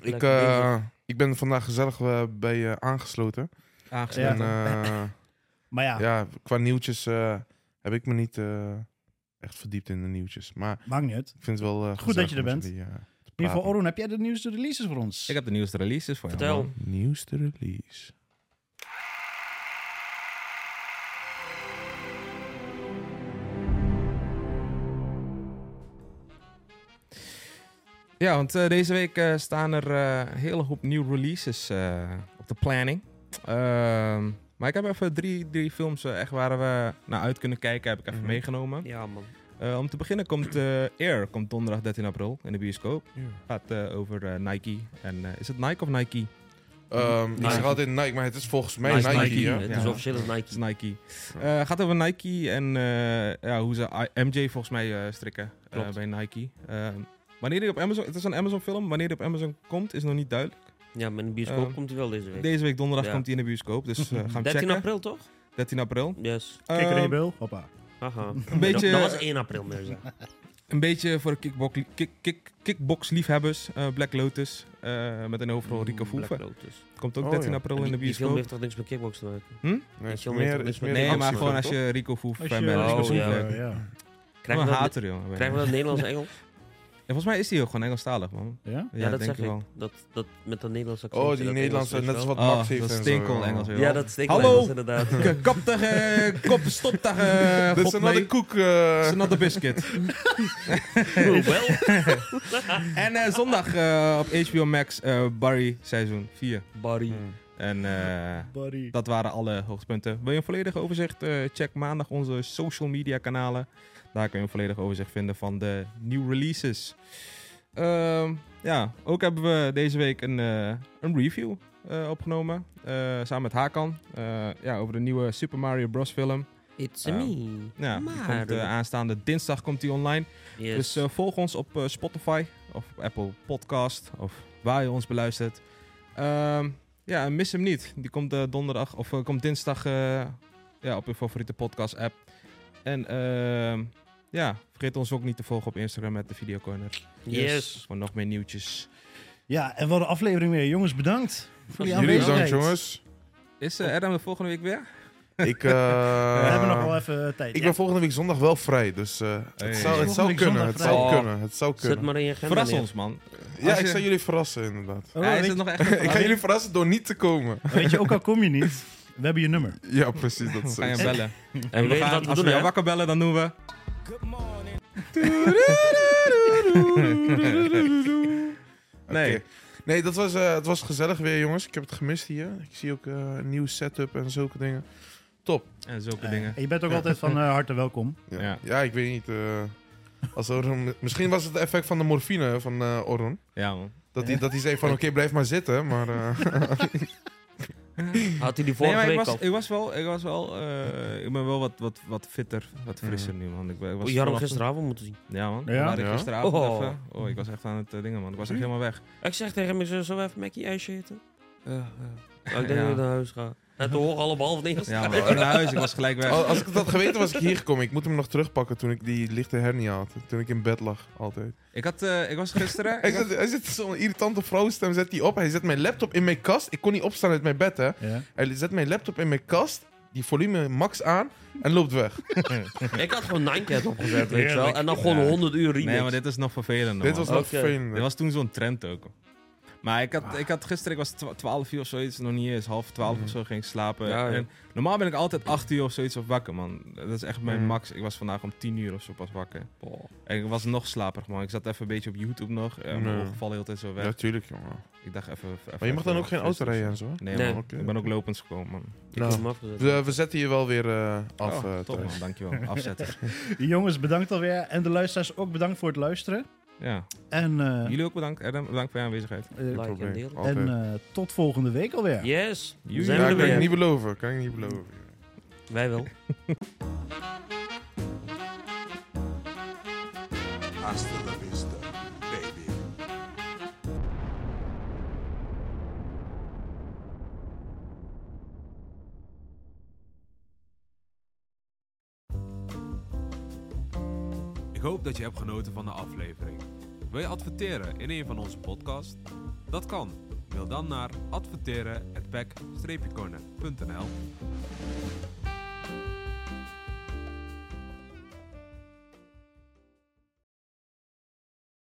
Speaker 8: Ik,
Speaker 5: Lekker
Speaker 8: eh,
Speaker 5: bezig.
Speaker 8: ik ben vandaag gezellig eh, bij je aangesloten.
Speaker 7: Aangesloten.
Speaker 8: En eh,
Speaker 6: Maar ja,
Speaker 8: ja, qua nieuwtjes eh, heb ik me niet eh, echt verdiept in de nieuwtjes. Maar
Speaker 6: maakt niet uit.
Speaker 8: ik vind het wel eh,
Speaker 6: Goed dat je er
Speaker 8: gezellig om
Speaker 6: bent.
Speaker 8: met jullie, eh, te
Speaker 6: In ieder geval,
Speaker 8: praten.
Speaker 6: Orun, heb jij de nieuwste releases voor ons?
Speaker 7: Ik heb de nieuwste releases voor jou.
Speaker 5: Vertel.
Speaker 7: man.
Speaker 8: Nieuwste release.
Speaker 7: Ja, want eh, deze week eh, staan er eh, een hele hoop nieuwe releases eh, op de planning. Ehm, maar ik heb even drie, drie films eh, echt waar we naar uit kunnen kijken, heb ik even
Speaker 8: Mhm.
Speaker 7: meegenomen.
Speaker 5: Ja, man.
Speaker 7: Eh, om te beginnen komt eh, Air, komt donderdag 13 april in de bioscoop. Gaat eh, over eh, Nike. En eh, is het Nike of Nike?
Speaker 8: Ehm, Ik
Speaker 5: Nike.
Speaker 8: zeg altijd Nike, maar het is volgens mij
Speaker 5: Nice
Speaker 8: Nike. ja.
Speaker 5: Het is
Speaker 7: Ja.
Speaker 5: officieel het
Speaker 7: Het is
Speaker 5: Nike.
Speaker 7: Dus Nike. Eh, gaat over Nike en eh, ja, hoe ze I- MJ volgens mij eh, strikken eh,
Speaker 5: Klopt.
Speaker 7: bij Nike. Eh, wanneer die op Amazon, het is een Amazon film, wanneer die op Amazon komt is nog niet duidelijk.
Speaker 5: Ja, maar in de bioscoop
Speaker 7: Ehm,
Speaker 5: komt hij wel deze week.
Speaker 7: Deze week donderdag
Speaker 5: Ja.
Speaker 7: komt hij in de bioscoop, dus eh, gaan we
Speaker 5: 13
Speaker 7: checken.
Speaker 5: april, toch?
Speaker 7: 13 april.
Speaker 5: Yes.
Speaker 6: Kijk er
Speaker 7: Ehm,
Speaker 6: in Bill. Hoppa.
Speaker 5: Haha.
Speaker 7: Een beetje- eh,
Speaker 5: Dat, dat was 1 april, mensen.
Speaker 7: een beetje voor kickbox, kick, kick, kickbox liefhebbers, Black Lotus, eh, met een hoofdrol Rico
Speaker 5: Mm, Black
Speaker 7: Voeven.
Speaker 5: Lotus.
Speaker 7: Komt ook
Speaker 8: Oh,
Speaker 7: 13
Speaker 8: ja.
Speaker 7: april in de
Speaker 5: Die- Die film
Speaker 7: bioscoop.
Speaker 5: heeft toch niks met kickbox te maken?
Speaker 8: Nee, het is
Speaker 5: Chill
Speaker 8: meer-
Speaker 5: met-
Speaker 8: het is
Speaker 5: met-
Speaker 8: meer
Speaker 7: Nee,
Speaker 8: een
Speaker 7: maar gewoon
Speaker 8: actiefilm,
Speaker 7: als
Speaker 8: toch?
Speaker 7: je Rico Voeven
Speaker 6: Als
Speaker 7: fan
Speaker 6: je-
Speaker 7: bent.
Speaker 5: Oh,
Speaker 7: Rico Voeven.
Speaker 5: ja.
Speaker 7: fan. Ik
Speaker 6: ja.
Speaker 7: ben
Speaker 5: Krijgen
Speaker 7: een
Speaker 5: we dat,
Speaker 7: hater, jongen.
Speaker 5: krijgen we dat Nederlands en Engels?
Speaker 7: En volgens mij is hij ook gewoon Engelstalig, man.
Speaker 6: Ja?
Speaker 5: Ja, dat zeg ik. Dat, dat met dat Nederlands accent.
Speaker 8: Oh, die Nederlandse, net als wat
Speaker 7: Oh,
Speaker 8: Max heeft.
Speaker 7: dat
Speaker 8: en zo,
Speaker 7: steenkool
Speaker 8: ja.
Speaker 7: Engels weer.
Speaker 5: Ja, dat is
Speaker 7: Hallo!
Speaker 5: Nederlands inderdaad.
Speaker 7: K- Kaptige, eh, kop, stoptige,
Speaker 8: Dit is
Speaker 7: god mee.
Speaker 8: another koek. eh,
Speaker 7: It's another biscuit.
Speaker 5: Wel?
Speaker 7: en eh, zondag eh, op HBO Max eh, Barry seizoen 4.
Speaker 5: Barry.
Speaker 7: En eh,
Speaker 6: Buddy.
Speaker 7: dat waren alle hoogtepunten. Wil je een volledig overzicht? Eh, check maandag onze social media kanalen. Daar kun je een volledig overzicht vinden van de nieuwe releases. Ehm, ja, ook hebben we deze week een, eh, een review eh, opgenomen. eh, samen met Hakan. Eh, ja, over de nieuwe Super Mario Bros. film.
Speaker 5: It's
Speaker 7: Ja.
Speaker 5: me.
Speaker 7: Ja, die komt, eh, aanstaande dinsdag komt die online.
Speaker 5: Yes.
Speaker 7: Dus eh, volg ons op eh, Spotify of op Apple Podcast of waar je ons beluistert. Ehm, ja, en mis hem niet. Die komt eh, donderdag of eh, komt dinsdag eh, ja, op je favoriete podcast app. En ehm, ja, vergeet ons ook niet te volgen op Instagram met de Video Corner.
Speaker 5: yes.
Speaker 7: Voor nog meer nieuwtjes.
Speaker 6: Ja, en wat een aflevering weer. Jongens, bedankt voor die
Speaker 5: Jullie
Speaker 8: Jullie
Speaker 6: aanwezigheid.
Speaker 8: bedankt, jongens.
Speaker 7: Is eh Adam de volgende week weer?
Speaker 8: Ik, eh,
Speaker 6: We hebben nog wel even tijd.
Speaker 8: ik
Speaker 6: Ja.
Speaker 8: ben volgende week zondag wel vrij, dus eh,
Speaker 7: Hey.
Speaker 8: het zou, het
Speaker 6: Volgende
Speaker 8: zou
Speaker 6: week
Speaker 8: kunnen.
Speaker 6: zondag
Speaker 8: Het
Speaker 6: vrij.
Speaker 8: zou kunnen. Het zou
Speaker 5: Zet
Speaker 8: kunnen.
Speaker 5: maar in je agenda
Speaker 7: Verras
Speaker 5: neer.
Speaker 7: ons, man.
Speaker 8: Ja,
Speaker 7: Als
Speaker 8: ik
Speaker 7: je-
Speaker 8: zal jullie verrassen, inderdaad.
Speaker 6: Oh,
Speaker 7: Hij is
Speaker 6: weet,
Speaker 7: het nog echt een
Speaker 8: Ik ga jullie verrassen door niet te komen.
Speaker 6: weet je, ook al kom je niet, we hebben je nummer.
Speaker 8: Ja, precies. Dat is
Speaker 7: Ga je hem
Speaker 8: het.
Speaker 7: bellen.
Speaker 5: En
Speaker 7: We
Speaker 5: weet je
Speaker 7: gaan-
Speaker 5: wat we
Speaker 7: als we
Speaker 5: doen,
Speaker 7: jou
Speaker 5: hè?
Speaker 7: wakker bellen, dan doen we... Nee.
Speaker 8: Oké. Nee, dat was, eh, het was gezellig weer, jongens. Ik heb het gemist hier. Ik zie ook eh, een nieuwe setup en zulke dingen.
Speaker 7: En zulke
Speaker 6: Eh,
Speaker 7: dingen.
Speaker 6: en je bent ook altijd van eh, harte welkom.
Speaker 8: Ja,
Speaker 7: Ja.
Speaker 8: ja. ik weet niet. eh, als Orun, misschien was het effect van de morfine van eh Orun.
Speaker 7: Ja, man.
Speaker 8: Dat hij, dat hij zei van, oké, blijf maar zitten. Maar eh,
Speaker 5: Had hij die
Speaker 7: Nee,
Speaker 5: vorige
Speaker 7: maar ik
Speaker 5: week
Speaker 7: was,
Speaker 5: al?
Speaker 7: ik was wel, ik was wel, eh, ik ben wel wat, wat, wat fitter, wat frisser nu, man. Ik, ben- ik was
Speaker 5: Mm. Oh, je had hem
Speaker 7: vanochtend-
Speaker 5: gisteravond moeten zien.
Speaker 7: Ja, man.
Speaker 6: Ja?
Speaker 7: Ja? Ik
Speaker 8: Ja?
Speaker 7: gisteravond
Speaker 5: Oh. Hm?
Speaker 7: even. Oh, ik was echt aan het eh, dingen, man. Ik was echt helemaal weg.
Speaker 5: Ik zeg tegen mijn zus, zo even Mackie ijsje eten? Ja, ja. Oh, ik denk
Speaker 7: Ja.
Speaker 5: dat ik naar huis ga. En toen horen we allemaal half negen.
Speaker 7: Ja, man. Ik ging naar huis, ik was gelijk weg.
Speaker 5: Oh,
Speaker 8: al- als ik dat had geweten, was ik hier gekomen. Ik moet hem nog terugpakken toen ik die lichte hernia had. Toen ik in bed lag, altijd.
Speaker 7: Ik, had, eh, ik was gisteren...
Speaker 8: Hij
Speaker 7: ik had-
Speaker 8: zet, hij zet zo'n irritante vrouwenstem, zet die op. Hij zet mijn laptop in mijn kast. Ik kon niet opstaan uit mijn bed, hè.
Speaker 6: Ja.
Speaker 8: Hij zet mijn laptop in mijn kast, die volume max aan en loopt weg.
Speaker 5: Ik had gewoon Ninecat opgezet, weet je wel.
Speaker 6: Heerlijk.
Speaker 5: En dan gewoon
Speaker 7: Ja.
Speaker 5: 100 uur remix.
Speaker 7: nee, maar dit is nog vervelender,
Speaker 8: Dit
Speaker 7: man.
Speaker 8: was nog
Speaker 5: Oké.
Speaker 8: vervelend.
Speaker 7: Dit was toen zo'n trend ook. Maar ik
Speaker 8: Ah.
Speaker 7: had, ik had gisteren, ik was twa- 12 uur of zoiets, nog niet eens, half 12
Speaker 8: Mhm.
Speaker 7: of zo ging ik slapen.
Speaker 5: Ja, ja.
Speaker 7: En normaal ben ik altijd 8 uur of zoiets of wakker, man. Dat is echt mijn
Speaker 8: Mm.
Speaker 7: max. Ik was vandaag om 10 uur of zo pas wakker.
Speaker 5: Oh.
Speaker 7: En ik was nog slaperig, man. Ik zat even een beetje op YouTube nog. eh, mijn
Speaker 8: Nee.
Speaker 7: ogen vallen de hele tijd zo weg.
Speaker 8: Natuurlijk, jongen.
Speaker 7: Ik dacht even... even-
Speaker 8: Maar je mag dan
Speaker 7: even
Speaker 8: ook geen auto
Speaker 7: rustig
Speaker 8: rijden en zo. hè?
Speaker 7: Nee,
Speaker 5: Nee.
Speaker 7: man.
Speaker 8: Oké.
Speaker 7: Ik ben ook lopend gekomen, man.
Speaker 5: Ik heb hem
Speaker 8: Nou,
Speaker 5: afgezet.
Speaker 8: we, we zetten je wel weer eh, af,
Speaker 7: oh,
Speaker 8: eh,
Speaker 7: top,
Speaker 8: Thijs.
Speaker 7: man. Dankjewel. Afzetten.
Speaker 6: Jongens, bedankt alweer. En de luisteraars ook bedankt voor het luisteren.
Speaker 7: ja.
Speaker 6: En, eh,
Speaker 7: Jullie ook bedankt. Adam, bedankt voor je aanwezigheid.
Speaker 6: eh,
Speaker 5: Like
Speaker 8: Probleem.
Speaker 5: en deel.
Speaker 8: Altijd.
Speaker 6: en eh, tot volgende week alweer.
Speaker 5: Yes, we
Speaker 7: Jullie-
Speaker 5: zijn
Speaker 8: ja,
Speaker 5: er
Speaker 8: kan ik
Speaker 5: weer.
Speaker 8: niet beloven. Kan ik niet beloven.
Speaker 5: Wij wel.
Speaker 1: Hasta la vista, baby.
Speaker 7: Ik hoop dat je hebt genoten van de aflevering. Wil je adverteren in een van onze podcasts? Dat kan. Mail dan naar adverteren@pack-corner.nl